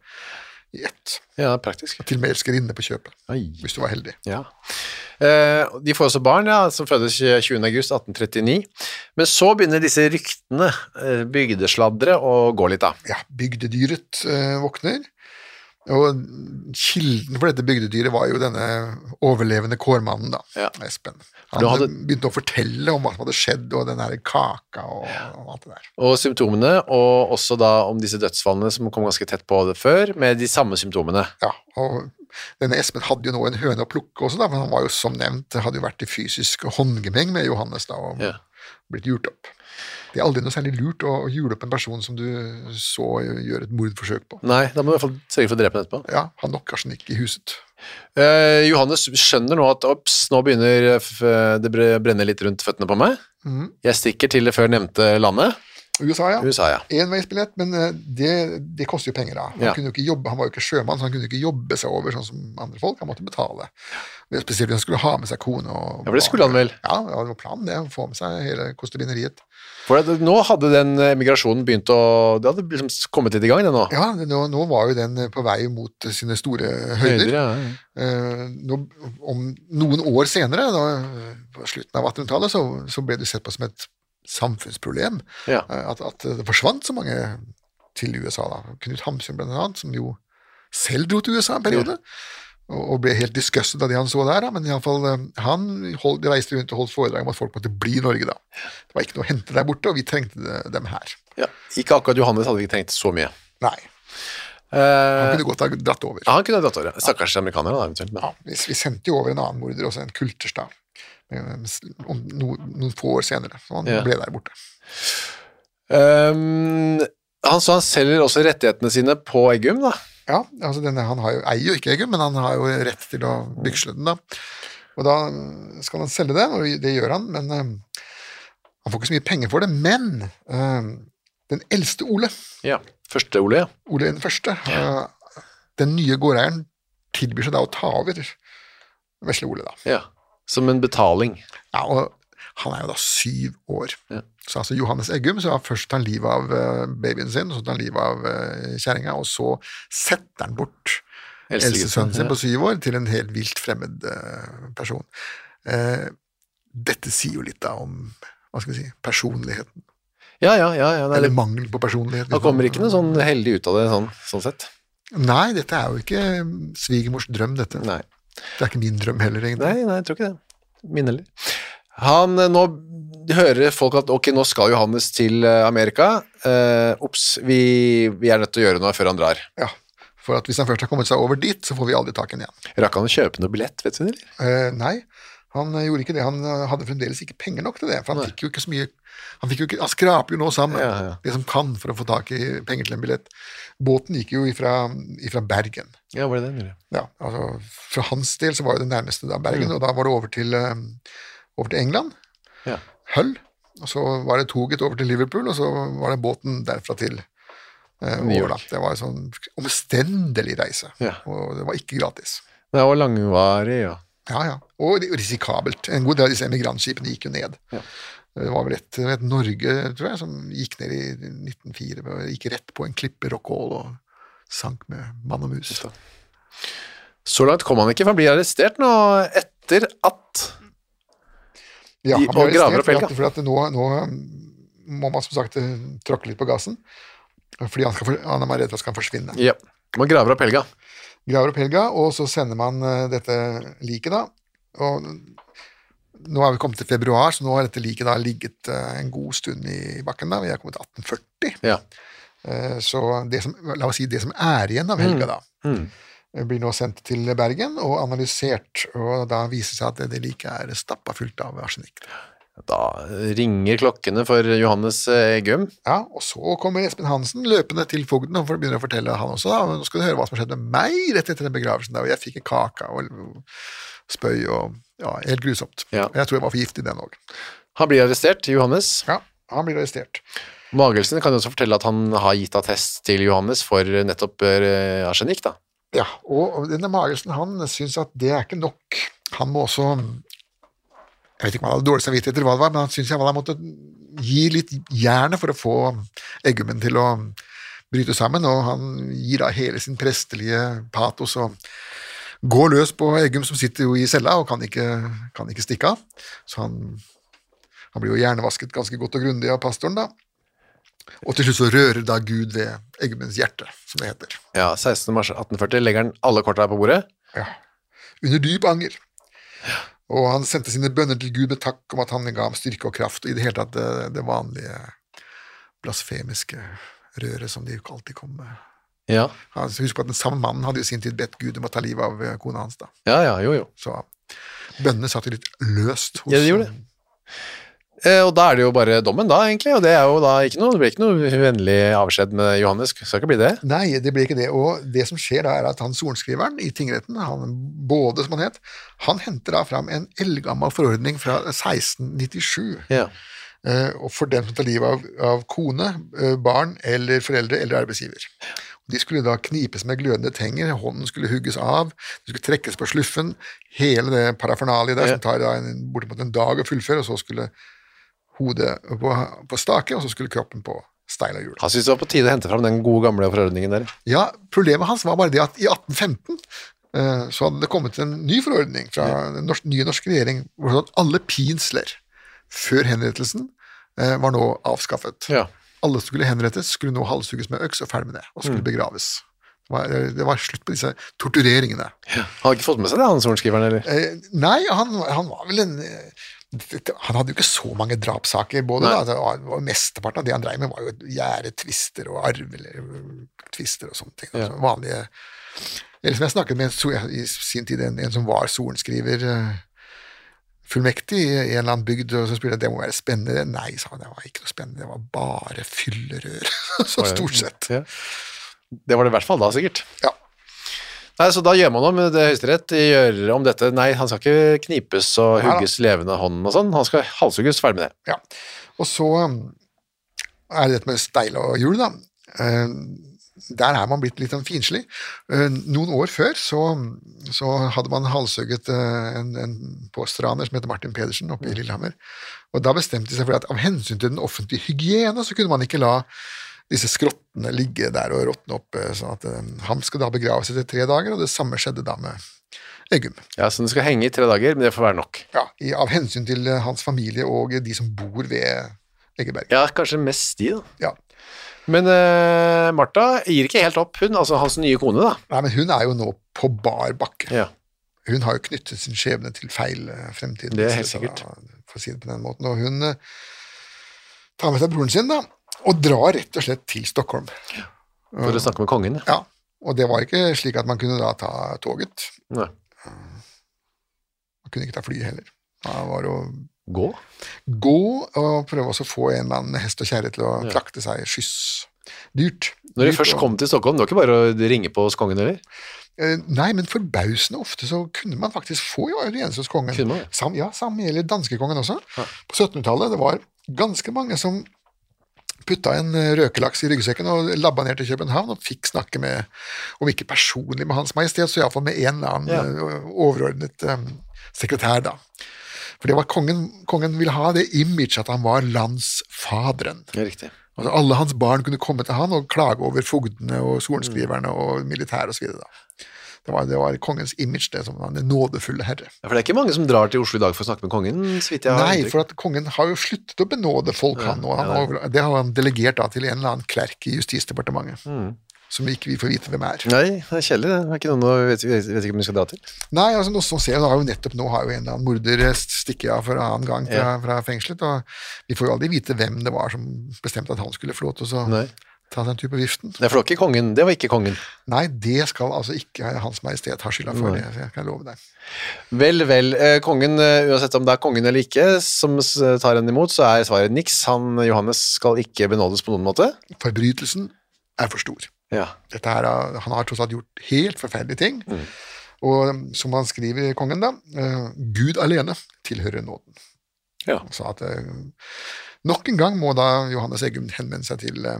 Speaker 3: i ett.
Speaker 2: Ja, praktisk.
Speaker 3: Til og med elskerinne på kjøpet,
Speaker 2: Oi.
Speaker 3: hvis du var heldig.
Speaker 2: Ja. Eh, de får også barn, ja, som fødes 20. august 1839. Men så begynner disse ryktene, eh, bygdesladdere, å gå litt, da.
Speaker 3: ja, bygdedyret eh, våkner. Og kilden for dette bygdedyret var jo denne overlevende kårmannen, da,
Speaker 2: Ja.
Speaker 3: Espen.
Speaker 2: du
Speaker 3: Han
Speaker 2: hadde-
Speaker 3: begynte å fortelle om hva som hadde skjedd, og den her kaka og, og alt det der.
Speaker 2: Og symptomene, og også da om disse dødsfallene som kom ganske tett på det før, med de samme symptomene.
Speaker 3: Ja, og denne Espen hadde jo nå en høne å plukke også, da, for han var jo som nevnt, hadde jo vært i fysisk håndgemeng med Johannes da, og
Speaker 2: Ja.
Speaker 3: blitt gjort opp. Det er aldri noe særlig lurt å jule opp en person som du så gjøre et mordforsøk på.
Speaker 2: Nei, da må du i hvert fall sørge for å drepe den etterpå.
Speaker 3: Ja, han nok arsenikk i huset.
Speaker 2: Eh, Johannes skjønner nå at ops, nå begynner eh, f det bre- brenne litt rundt føttene på meg. Jeg stikker til det før nevnte landet,
Speaker 3: USA, Mhm. ja.
Speaker 2: USA, ja.
Speaker 3: enveisbillett, men eh, det, det koster jo penger da. Han,
Speaker 2: Ja.
Speaker 3: kunne jo ikke jobbe, han var jo ikke sjømann, så han kunne ikke jobbe seg over sånn som andre folk. Han måtte betale. Det er Spesielt hvis han skulle ha med seg kone og
Speaker 2: Ja, for det skulle han vel?
Speaker 3: Ja, ja, det var planen det, å få med seg hele kostebinderiet.
Speaker 2: For det, nå hadde den emigrasjonen begynt å Det hadde liksom kommet litt i gang, det nå.
Speaker 3: Ja, det- nå, nå var jo den eh, på vei mot eh, sine store høyder.
Speaker 2: Høyder, ja, ja.
Speaker 3: Eh, nå, om noen år senere, da, eh, på slutten av 1800-tallet, så, så ble det sett på som et samfunnsproblem
Speaker 2: Ja.
Speaker 3: eh, at, at det forsvant så mange til USA. da. Knut Hamsun blant annet, som jo selv dro til USA en periode, og, og ble helt disgusted av det han så der, da. men i alle fall, eh, han hold, de reiste rundt og holdt foredrag om at folk måtte bli i Norge da. Det var ikke noe å hente der borte, og vi trengte det- dem her.
Speaker 2: Ja. Ikke akkurat Johannes hadde vi ikke trengt så mye.
Speaker 3: Nei, han
Speaker 2: Eh,
Speaker 3: kunne godt ha dratt over.
Speaker 2: han kunne dratt over. ja. Stakkars amerikanere, da, eventuelt. Men.
Speaker 3: Ja, vi, vi sendte jo over en annen morder også, en kulterstad, om no, noen få år senere. Så han
Speaker 2: Ja.
Speaker 3: ble der borte.
Speaker 2: Ehm, han, så han selger også rettighetene sine på Eggum, da.
Speaker 3: Ja, altså denne, han har jo, eier jo ikke Eggum, men han har jo rett til å byksle den, da. Og da skal han selge det, og det gjør han, men eh, Han får ikke så mye penger for det, men eh, den eldste Ole,
Speaker 2: Ja. Første Ole, ja.
Speaker 3: Ole den første, eh, den nye gårdeieren, tilbyr seg da å ta over vesle Ole, da.
Speaker 2: ja. Som en betaling.
Speaker 3: Ja, og han er jo da syv år.
Speaker 2: Ja.
Speaker 3: Så altså Johannes Eggum så han først tar han livet av eh, babyen sin, så tar han livet av eh, kjerringa, og så setter han bort
Speaker 2: Eldste gutten,
Speaker 3: eldstesønnen sin
Speaker 2: ja.
Speaker 3: på syv år til en helt vilt fremmed eh, person. Eh, dette sier jo litt da om hva skal vi si, personligheten,
Speaker 2: Ja, ja, ja. ja. Nei,
Speaker 3: eller
Speaker 2: det,
Speaker 3: mangel på personlighet. liksom.
Speaker 2: han kommer ikke noe sånn heldig ut av det, sånn, sånn sett.
Speaker 3: Nei, dette er jo ikke mm, svigermors drøm, dette.
Speaker 2: Nei.
Speaker 3: Det er ikke min drøm heller, egentlig.
Speaker 2: Nei, nei, jeg tror ikke det. Min heller. Han, eh, nå hører folk at ok, nå skal Johannes til eh, Amerika. Eh, Ops, vi, vi er nødt til å gjøre noe før han drar.
Speaker 3: Ja, for at hvis han først har kommet seg over dit, så får vi aldri tak i ham igjen.
Speaker 2: Rakk han å kjøpe noe billett, vet du det? eller?
Speaker 3: Eh, nei, han eh, gjorde ikke det. Han eh, hadde fremdeles ikke penger nok til det. For han fikk jo ikke så mye Han, fikk jo ikke, han skraper jo nå sammen
Speaker 2: Ja, ja.
Speaker 3: det som kan for å få tak i penger til en billett. Båten gikk jo ifra, ifra Bergen.
Speaker 2: Ja, var det det? han gjorde?
Speaker 3: Ja, altså, for hans del så var jo det nærmeste da Bergen,
Speaker 2: Mm.
Speaker 3: og da var det over til, eh, over til England.
Speaker 2: Ja.
Speaker 3: Hull. Og så var det toget over til Liverpool, og så var det båten derfra til eh,
Speaker 2: New York.
Speaker 3: over, da. Det var en sånn omstendelig reise,
Speaker 2: Ja.
Speaker 3: og det var ikke gratis.
Speaker 2: Det var langvarig, ja.
Speaker 3: Ja, ja. Og det- risikabelt. En god del av disse emigrantskipene gikk jo ned. Det var vel et, et Norge, tror jeg, som gikk ned i 1904. og Gikk rett på en klippe rockall og sank med mann og mus.
Speaker 2: Så langt kom han ikke, for han blir arrestert nå etter at
Speaker 3: Ja,
Speaker 2: De-
Speaker 3: han ble
Speaker 2: og graver
Speaker 3: arrestert
Speaker 2: opp
Speaker 3: for
Speaker 2: elga.
Speaker 3: at, for at nå, nå um, må man som sagt eh, tråkke litt på gassen. Fordi han, skal, for- han er redd for at han skal forsvinne.
Speaker 2: Ja. Man graver opp helga.
Speaker 3: graver opp helga, og så sender man eh, dette liket, da. Og nå er vi kommet til februar, så nå har dette liket da ligget eh, en god stund i bakken. da, Vi er kommet til 1840.
Speaker 2: Ja.
Speaker 3: Eh, Så det som, la oss si det som er igjen av helga, da, eh, blir nå sendt til Bergen og analysert. Og da viser det seg at det- det liket er stappa fullt av arsenikk.
Speaker 2: Da ringer klokkene for Johannes eh, Eggum.
Speaker 3: Ja, og så kommer Espen Hansen løpende til fogden og begynner å fortelle han også, da. Nå skal du høre hva som skjedde med meg rett etter den begravelsen der, og jeg fikk en kake og spøy og ja, helt grusomt.
Speaker 2: Ja.
Speaker 3: Og Jeg tror jeg var for giftig den òg.
Speaker 2: Han blir arrestert, Johannes.
Speaker 3: Ja, han blir arrestert.
Speaker 2: Magelsen kan jo også fortelle at han har gitt attest til Johannes for nettopp eh, arsenikk, da.
Speaker 3: Ja, og denne Magelsen, han syns at det er ikke nok. Han må også Jeg vet ikke om han hadde dårlig samvittighet eller hva det var, men han syns han måtte gi litt jernet for å få Eggummen til å bryte sammen, og han gir da hele sin prestelige patos og går løs på Eggum, som sitter jo i cella og kan ikke, kan ikke stikke av. Så han, han blir jo hjernevasket ganske godt og grundig av pastoren, da. Og til slutt så rører da Gud ved Eggummens hjerte, som det heter.
Speaker 2: Ja, 16. mars 1840 legger han alle korta på bordet.
Speaker 3: under dyp anger. Og han sendte sine bønner til Gud med takk om at han ga ham styrke og kraft, og i det hele tatt det, det vanlige blasfemiske røret som de jo ikke alltid kom med.
Speaker 2: Ja,
Speaker 3: Altså, husk på at den samme mannen hadde jo i sin tid bedt Gud om å ta livet av eh, kona hans, da.
Speaker 2: ja, ja jo, jo.
Speaker 3: Så bønnene satt jo litt løst hos
Speaker 2: Ja, det gjorde det. Eh, og da er det jo bare dommen, da, egentlig. Og det er jo da ikke noe, det blir ikke noe vennlig avskjed med Johannes. Skal ikke bli det.
Speaker 3: Nei, det ble ikke det. Og det som skjer da, er at han sorenskriveren i tingretten, han Både, som han het, han henter da fram en eldgammel forordning fra 1697.
Speaker 2: Ja.
Speaker 3: Eh, og for dem som tar livet av, av kone, eh, barn eller foreldre eller arbeidsgiver. De skulle da knipes med glødende tenger, hånden skulle hugges av, de skulle trekkes på sluffen, hele det parafernaliet der som tar da en, bortimot en dag å fullføre, og så skulle hodet på, på stake, og så skulle kroppen på steil og hjul.
Speaker 2: Han syntes det var på tide å hente fram den gode gamle forordningen der.
Speaker 3: Ja, problemet hans var bare det at i 1815 eh, så hadde det kommet en ny forordning fra den norsk, nye norske regjering, hvor det stod at alle pinsler før henrettelsen eh, var nå avskaffet.
Speaker 2: Ja.
Speaker 3: Alle som skulle henrettes, skulle nå halshugges med øks og ferdig med det, og skulle begraves. Det var, det var slutt på disse tortureringene.
Speaker 2: Han har ikke fått med seg det, han sorenskriveren, eller?
Speaker 3: Eh, nei, han, han var vel en eh, Han hadde jo ikke så mange drapssaker, både.
Speaker 2: Nei.
Speaker 3: Da, det var, det var mesteparten av det han dreiv med, var jo gjerdetvister og arvetvister og sånne ting. Altså, vanlige Eller som jeg snakket med en so- i sin tid, en, en som var sorenskriver. eh, Fullmektig i en eller annen bygd og så spurte jeg det må være spennende. Nei, sa han, det var ikke noe spennende, det var bare fyllerør. så stort sett.
Speaker 2: Ja. Det var det i hvert fall da, sikkert.
Speaker 3: Ja.
Speaker 2: Nei, Så da gjør man om det Høyesterett gjør om dette. Nei, han skal ikke knipes og
Speaker 3: Nei da.
Speaker 2: hugges levende hånden og sånn. Han skal halshugges, ferdig med det.
Speaker 3: Ja. Og så um, er det dette med steil og hjul, da. Eh, Der er man blitt litt sånn finslig. Eh, Noen år før så, så hadde man halshugget eh, en, en påstraner som heter Martin Pedersen oppe i Lillehammer. Og da bestemte de seg for at av hensyn til den offentlige hygiene så kunne man ikke la disse skrottene ligge der og råtne opp, eh, sånn at eh, ham skal da begraves etter tre dager, og det samme skjedde da med Eggum.
Speaker 2: Ja, så den skal henge i tre dager, men det får være nok.
Speaker 3: Ja, i, av hensyn til eh, hans familie og eh, de som bor ved Eggeberg.
Speaker 2: Ja, kanskje mest de, da.
Speaker 3: Ja.
Speaker 2: Men eh, Martha gir ikke helt opp, hun, altså hans nye kone, da.
Speaker 3: Nei, men hun er jo nå på bar bakke.
Speaker 2: Ja.
Speaker 3: Hun har jo knyttet sin skjebne til feil eh, fremtid.
Speaker 2: Det er helt
Speaker 3: Så
Speaker 2: sikkert.
Speaker 3: da, For å si det på den måten. Og hun eh, tar med seg broren sin, da, og drar rett og slett til Stockholm.
Speaker 2: For å snakke med kongen. ja.
Speaker 3: Ja, og det var ikke slik at man kunne da ta toget.
Speaker 2: Nei.
Speaker 3: Man kunne ikke ta flyet heller. Da var det å
Speaker 2: Gå?
Speaker 3: gå og prøve også å få en eller annen hest og kjerre til å
Speaker 2: Ja.
Speaker 3: frakte seg skyss. Dyrt.
Speaker 2: Når de
Speaker 3: Dyrt
Speaker 2: først
Speaker 3: og-
Speaker 2: kom til Stockholm, det var ikke bare å ringe på hos kongen, eller?
Speaker 3: Eh, Nei, men forbausende ofte så kunne man faktisk få jo audiens hos kongen.
Speaker 2: Kunne man det?
Speaker 3: Sam, ja, samme gjelder danskekongen også. På 1700-tallet det var ganske mange som putta en eh, røkelaks i ryggsekken og labba ned til København og fikk snakke med, om ikke personlig med Hans Majestet, så iallfall med en eller annen
Speaker 2: Ja.
Speaker 3: eh, overordnet eh, sekretær, da. For det var kongen, kongen ville ha det image at han var landsfaderen.
Speaker 2: Ja, riktig.
Speaker 3: Altså, alle hans barn kunne komme til han og klage over fogdene og sorenskriverne og militæret osv. Det var, det var kongens image, det som var den nådefulle herre.
Speaker 2: Ja, for det er ikke mange som drar til Oslo i dag for å snakke med kongen, så vidt jeg har
Speaker 3: Nei,
Speaker 2: inntrykk.
Speaker 3: for at kongen har jo sluttet å benåde folk, han nå. Han, over- Det har han delegert da til en eller annen klerk i Justisdepartementet. Som ikke vi får vite hvem er.
Speaker 2: Nei, det er kjedelig. Det er ikke noen å- vet, vet, vet ikke om vi skal dra til.
Speaker 3: Nei, altså nå så ser jeg, nå har jo nettopp nå har jo en eller annen morder stikket av for annen gang fra, fra fengselet, og vi får jo aldri vite hvem det var som bestemte at han skulle få lov til å så
Speaker 2: Nei.
Speaker 3: ta seg en tur på viften.
Speaker 2: Nei, for det var ikke kongen. Det var ikke kongen.
Speaker 3: Nei, det skal altså ikke Hans Majestet ha skylda for, det kan jeg love deg.
Speaker 2: Vel, vel. eh, Kongen, eh, uansett om det er kongen eller ikke som s- eh, tar henne imot, så er svaret niks. Han eh, Johannes skal ikke benådes på noen måte.
Speaker 3: Forbrytelsen er for stor.
Speaker 2: Ja.
Speaker 3: Dette her, er- han har tross alt gjort helt forferdelige ting,
Speaker 2: Mm.
Speaker 3: og um, som han skriver i Kongen, da, eh, Gud alene tilhører nåden.
Speaker 2: Ja.
Speaker 3: Så at eh, nok en gang må da Johannes Eggum henvende seg til, eh,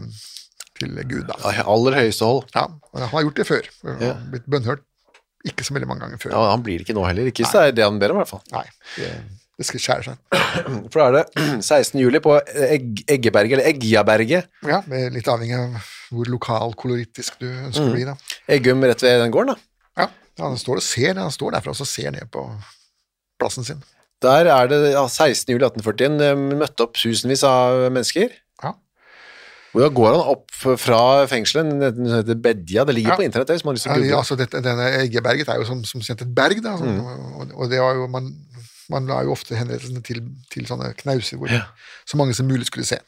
Speaker 3: til Gud, da.
Speaker 2: I aller høyeste hold.
Speaker 3: Ja, og han har gjort det før, og
Speaker 2: Ja.
Speaker 3: blitt bønnhørt ikke så veldig mange ganger før.
Speaker 2: Ja, han blir det ikke nå heller. Ikke hvis det er det han ber om, i hvert fall.
Speaker 3: Nei, det, det skal skjære seg.
Speaker 2: Mm, For da er det 16. juli på Egg, Eggeberget, eller Eggjaberget.
Speaker 3: Ja, det er litt avhengig av hvor lokalkoloritisk du ønsker
Speaker 2: Mm.
Speaker 3: å bli, da.
Speaker 2: Eggum rett ved den gården, da.
Speaker 3: Ja, han står og ser, han står derfra og så ser ned på plassen sin.
Speaker 2: Der er det ja, 16. juli 1841 eh, møtte opp tusenvis av mennesker.
Speaker 3: Ja.
Speaker 2: Og da går han opp fra fengselet, ned til noe som heter Bedja, det ligger
Speaker 3: Ja.
Speaker 2: på internett det, hvis man har lyst til
Speaker 3: Ja,
Speaker 2: å google.
Speaker 3: altså, dette, denne Eggeberget er jo som, som kjent et berg, da, sånn, og, og det var jo, man, man la jo ofte henrettelsene til, til sånne knauser hvor så mange som mulig skulle se.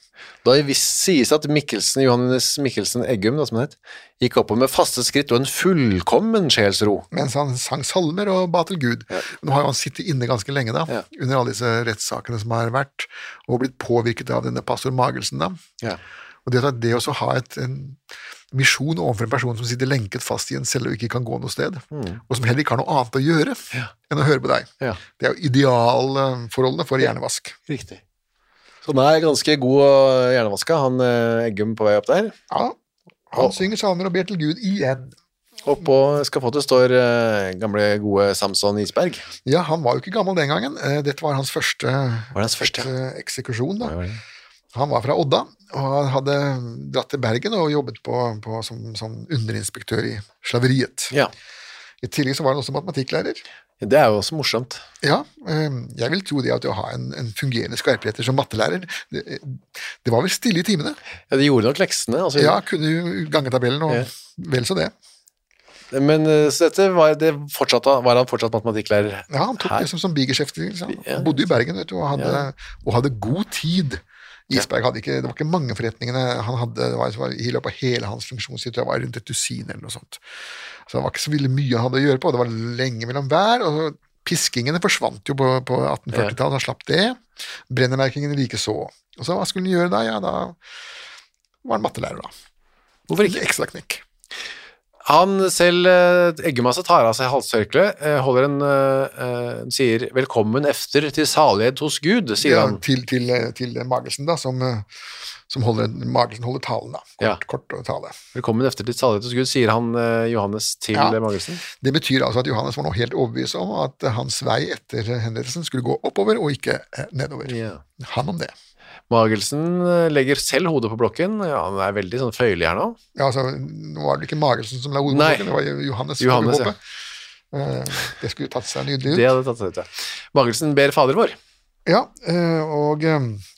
Speaker 2: Da det visst sies at Mikkelsen, Johannes Mikkelsen Eggum, da, som han het, gikk oppover med faste skritt og en fullkommen sjelsro.
Speaker 3: Mens han sang salmer og ba til Gud. Nå har jo han sittet inne ganske lenge, da,
Speaker 2: Ja.
Speaker 3: under alle disse rettssakene som har vært, og blitt påvirket av denne pastor Magelsen, da.
Speaker 2: Ja.
Speaker 3: Og det, at det å så ha et, en misjon overfor en person som sitter lenket fast i en celle og ikke kan gå noe sted,
Speaker 2: Mm.
Speaker 3: og som heller ikke har noe annet å gjøre enn å høre på deg,
Speaker 2: Ja.
Speaker 3: det er jo idealforholdene for hjernevask.
Speaker 2: Riktig. Så han er ganske god og hjernevaska, han eh, Eggum på vei opp der.
Speaker 3: Ja, han
Speaker 2: Og-
Speaker 3: synger salmer og ber til Gud igjen.
Speaker 2: Oppå skafottet står eh, gamle, gode Samson Isberg.
Speaker 3: Ja, han var jo ikke gammel den gangen. Eh, Dette var hans første,
Speaker 2: Var det hans første?
Speaker 3: eh, eksekusjon.
Speaker 2: Ja,
Speaker 3: da.
Speaker 2: det var det.
Speaker 3: Han var fra Odda, og han hadde dratt til Bergen og jobbet på, på, som, som underinspektør i slaveriet.
Speaker 2: Ja,
Speaker 3: I tillegg så var han også matematikklærer.
Speaker 2: det er jo også morsomt.
Speaker 3: Ja, eh, jeg vil tro det at å ha en, en fungerende skarpretter som mattelærer, det, eh, det var vel stille i timene.
Speaker 2: Ja, de gjorde nok leksene. Altså,
Speaker 3: Ja, kunne jo gangetabellen og
Speaker 2: Ja.
Speaker 3: vel så det.
Speaker 2: Men eh, så dette var, det fortsatte, var han fortsatt matematikklærer?
Speaker 3: Ja, han tok
Speaker 2: Her.
Speaker 3: det som, som bigeskjeft. ikke sant?
Speaker 2: Ja.
Speaker 3: Han bodde i Bergen vet du, og, hadde, og hadde god tid. Isberg hadde ikke, Det var ikke mange forretningene han hadde det var, det var, i løpet av hele hans funksjonstid. Det var rundt et dusin eller noe sånt. Så det var ikke så veldig mye han hadde å gjøre på. og Det var lenge mellom hver. og Piskingene forsvant jo på, på 1840-tallet, han slapp det. Brennemerkingene likeså. Og så hva skulle han gjøre da? Ja, da var han mattelærer, da.
Speaker 2: Hvorfor ikke?
Speaker 3: Ekstra knekk.
Speaker 2: Han selv, eh, Eggemasse, tar av seg halstørkleet, eh, holder en eh, eh, Sier 'velkommen efter til salighet hos Gud', sier
Speaker 3: Ja,
Speaker 2: han.
Speaker 3: til, til, til Magelsen, da, som, eh, som holder, Magelsen holder talen, da. Kort,
Speaker 2: Ja.
Speaker 3: kort tale.
Speaker 2: 'Velkommen efter til salighet hos Gud', sier han eh, Johannes til
Speaker 3: Ja.
Speaker 2: eh, Magelsen.
Speaker 3: Det betyr altså at Johannes var nå helt overbevist om at eh, hans vei etter henrettelsen skulle gå oppover og ikke eh, nedover.
Speaker 2: Ja.
Speaker 3: Han om det.
Speaker 2: Magelsen eh, legger selv hodet på blokken. Ja, han er veldig sånn føyelig her nå.
Speaker 3: Ja, altså, nå var det ikke Magelsen som la ordet på
Speaker 2: Nei.
Speaker 3: boken, det var jo Johannes. får vi
Speaker 2: Johannes, ja.
Speaker 3: håpe. Eh, Det skulle tatt seg nydelig ut.
Speaker 2: Det hadde tatt seg ut, ja. Magelsen ber Fader vår.
Speaker 3: Ja, eh, og eh,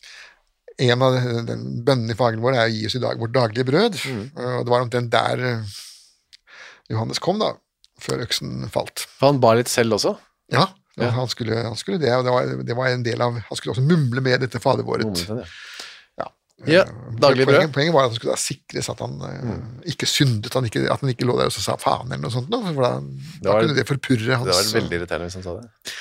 Speaker 3: en av de- den bønnen i fagen vår er å gi oss i dag vårt daglige brød.
Speaker 2: Mm.
Speaker 3: Eh, Og det var omtrent der eh, Johannes kom, da, før øksen falt.
Speaker 2: For han ba litt selv også.
Speaker 3: Ja,
Speaker 2: Ja.
Speaker 3: Han, skulle, han skulle det, og det var, det var en del av Han skulle også mumle med dette Fader våret.
Speaker 2: Momenten, ja.
Speaker 3: Ja.
Speaker 2: Ja, daglig brød. Mm.
Speaker 3: Poenget, poenget var at han skulle da sikres at han eh, ikke syndet, han ikke, at han ikke lå der og så sa faen eller noe sånt. nå, For da, da
Speaker 2: var-
Speaker 3: kunne det forpurre hans
Speaker 2: Det var veldig irriterende hvis han sa det.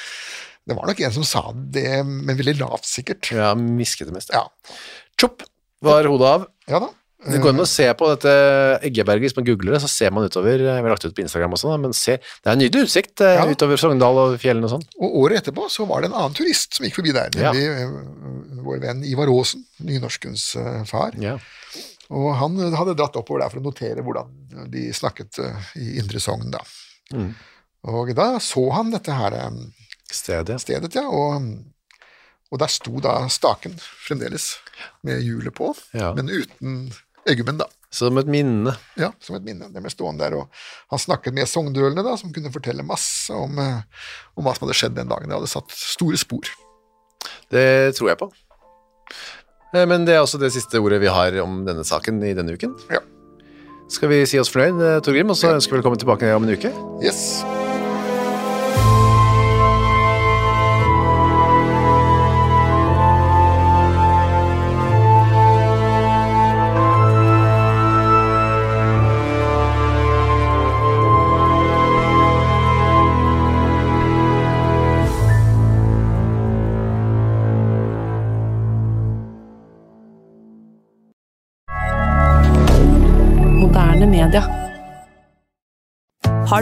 Speaker 3: det var nok en som sa det, men veldig lavt, sikkert.
Speaker 2: Ja, miskete mest.
Speaker 3: Ja,
Speaker 2: Tjopp var hodet av.
Speaker 3: ja da.
Speaker 2: Det går an å se på dette Eggeberget, hvis man googler det, så ser man utover, eh, vi har lagt ut på Instagram og sånn, da, men se, det er en nydelig utsikt eh,
Speaker 3: Ja.
Speaker 2: utover Sogndal og fjellene og sånn.
Speaker 3: Og året etterpå så var det en annen turist som gikk forbi der,
Speaker 2: Ja.
Speaker 3: nemlig eh, vår venn Ivar Aasen, nynorskens eh, far.
Speaker 2: Ja.
Speaker 3: Og han eh, hadde dratt oppover der for å notere hvordan de snakket eh, i Indre Sogn, da.
Speaker 2: Mm.
Speaker 3: Og da så han dette her eh,
Speaker 2: Stedet, ja.
Speaker 3: stedet, ja, og, og der sto da staken fremdeles med hjulet på,
Speaker 2: Ja.
Speaker 3: men uten eggummen, da.
Speaker 2: Som et minne.
Speaker 3: Ja, som et minne. Den ble stående der, og han snakket med sogndølene, da, som kunne fortelle masse om, eh, om hva som hadde skjedd den dagen. Det hadde satt store spor.
Speaker 2: Det tror jeg på. Eh, Men det er også det siste ordet vi har om denne saken i denne uken.
Speaker 3: Ja.
Speaker 2: Skal vi si oss fornøyd, eh, Torgrim, og så ønsker vi velkommen tilbake om en uke.
Speaker 3: Yes.
Speaker 4: Moderne media.
Speaker 5: Har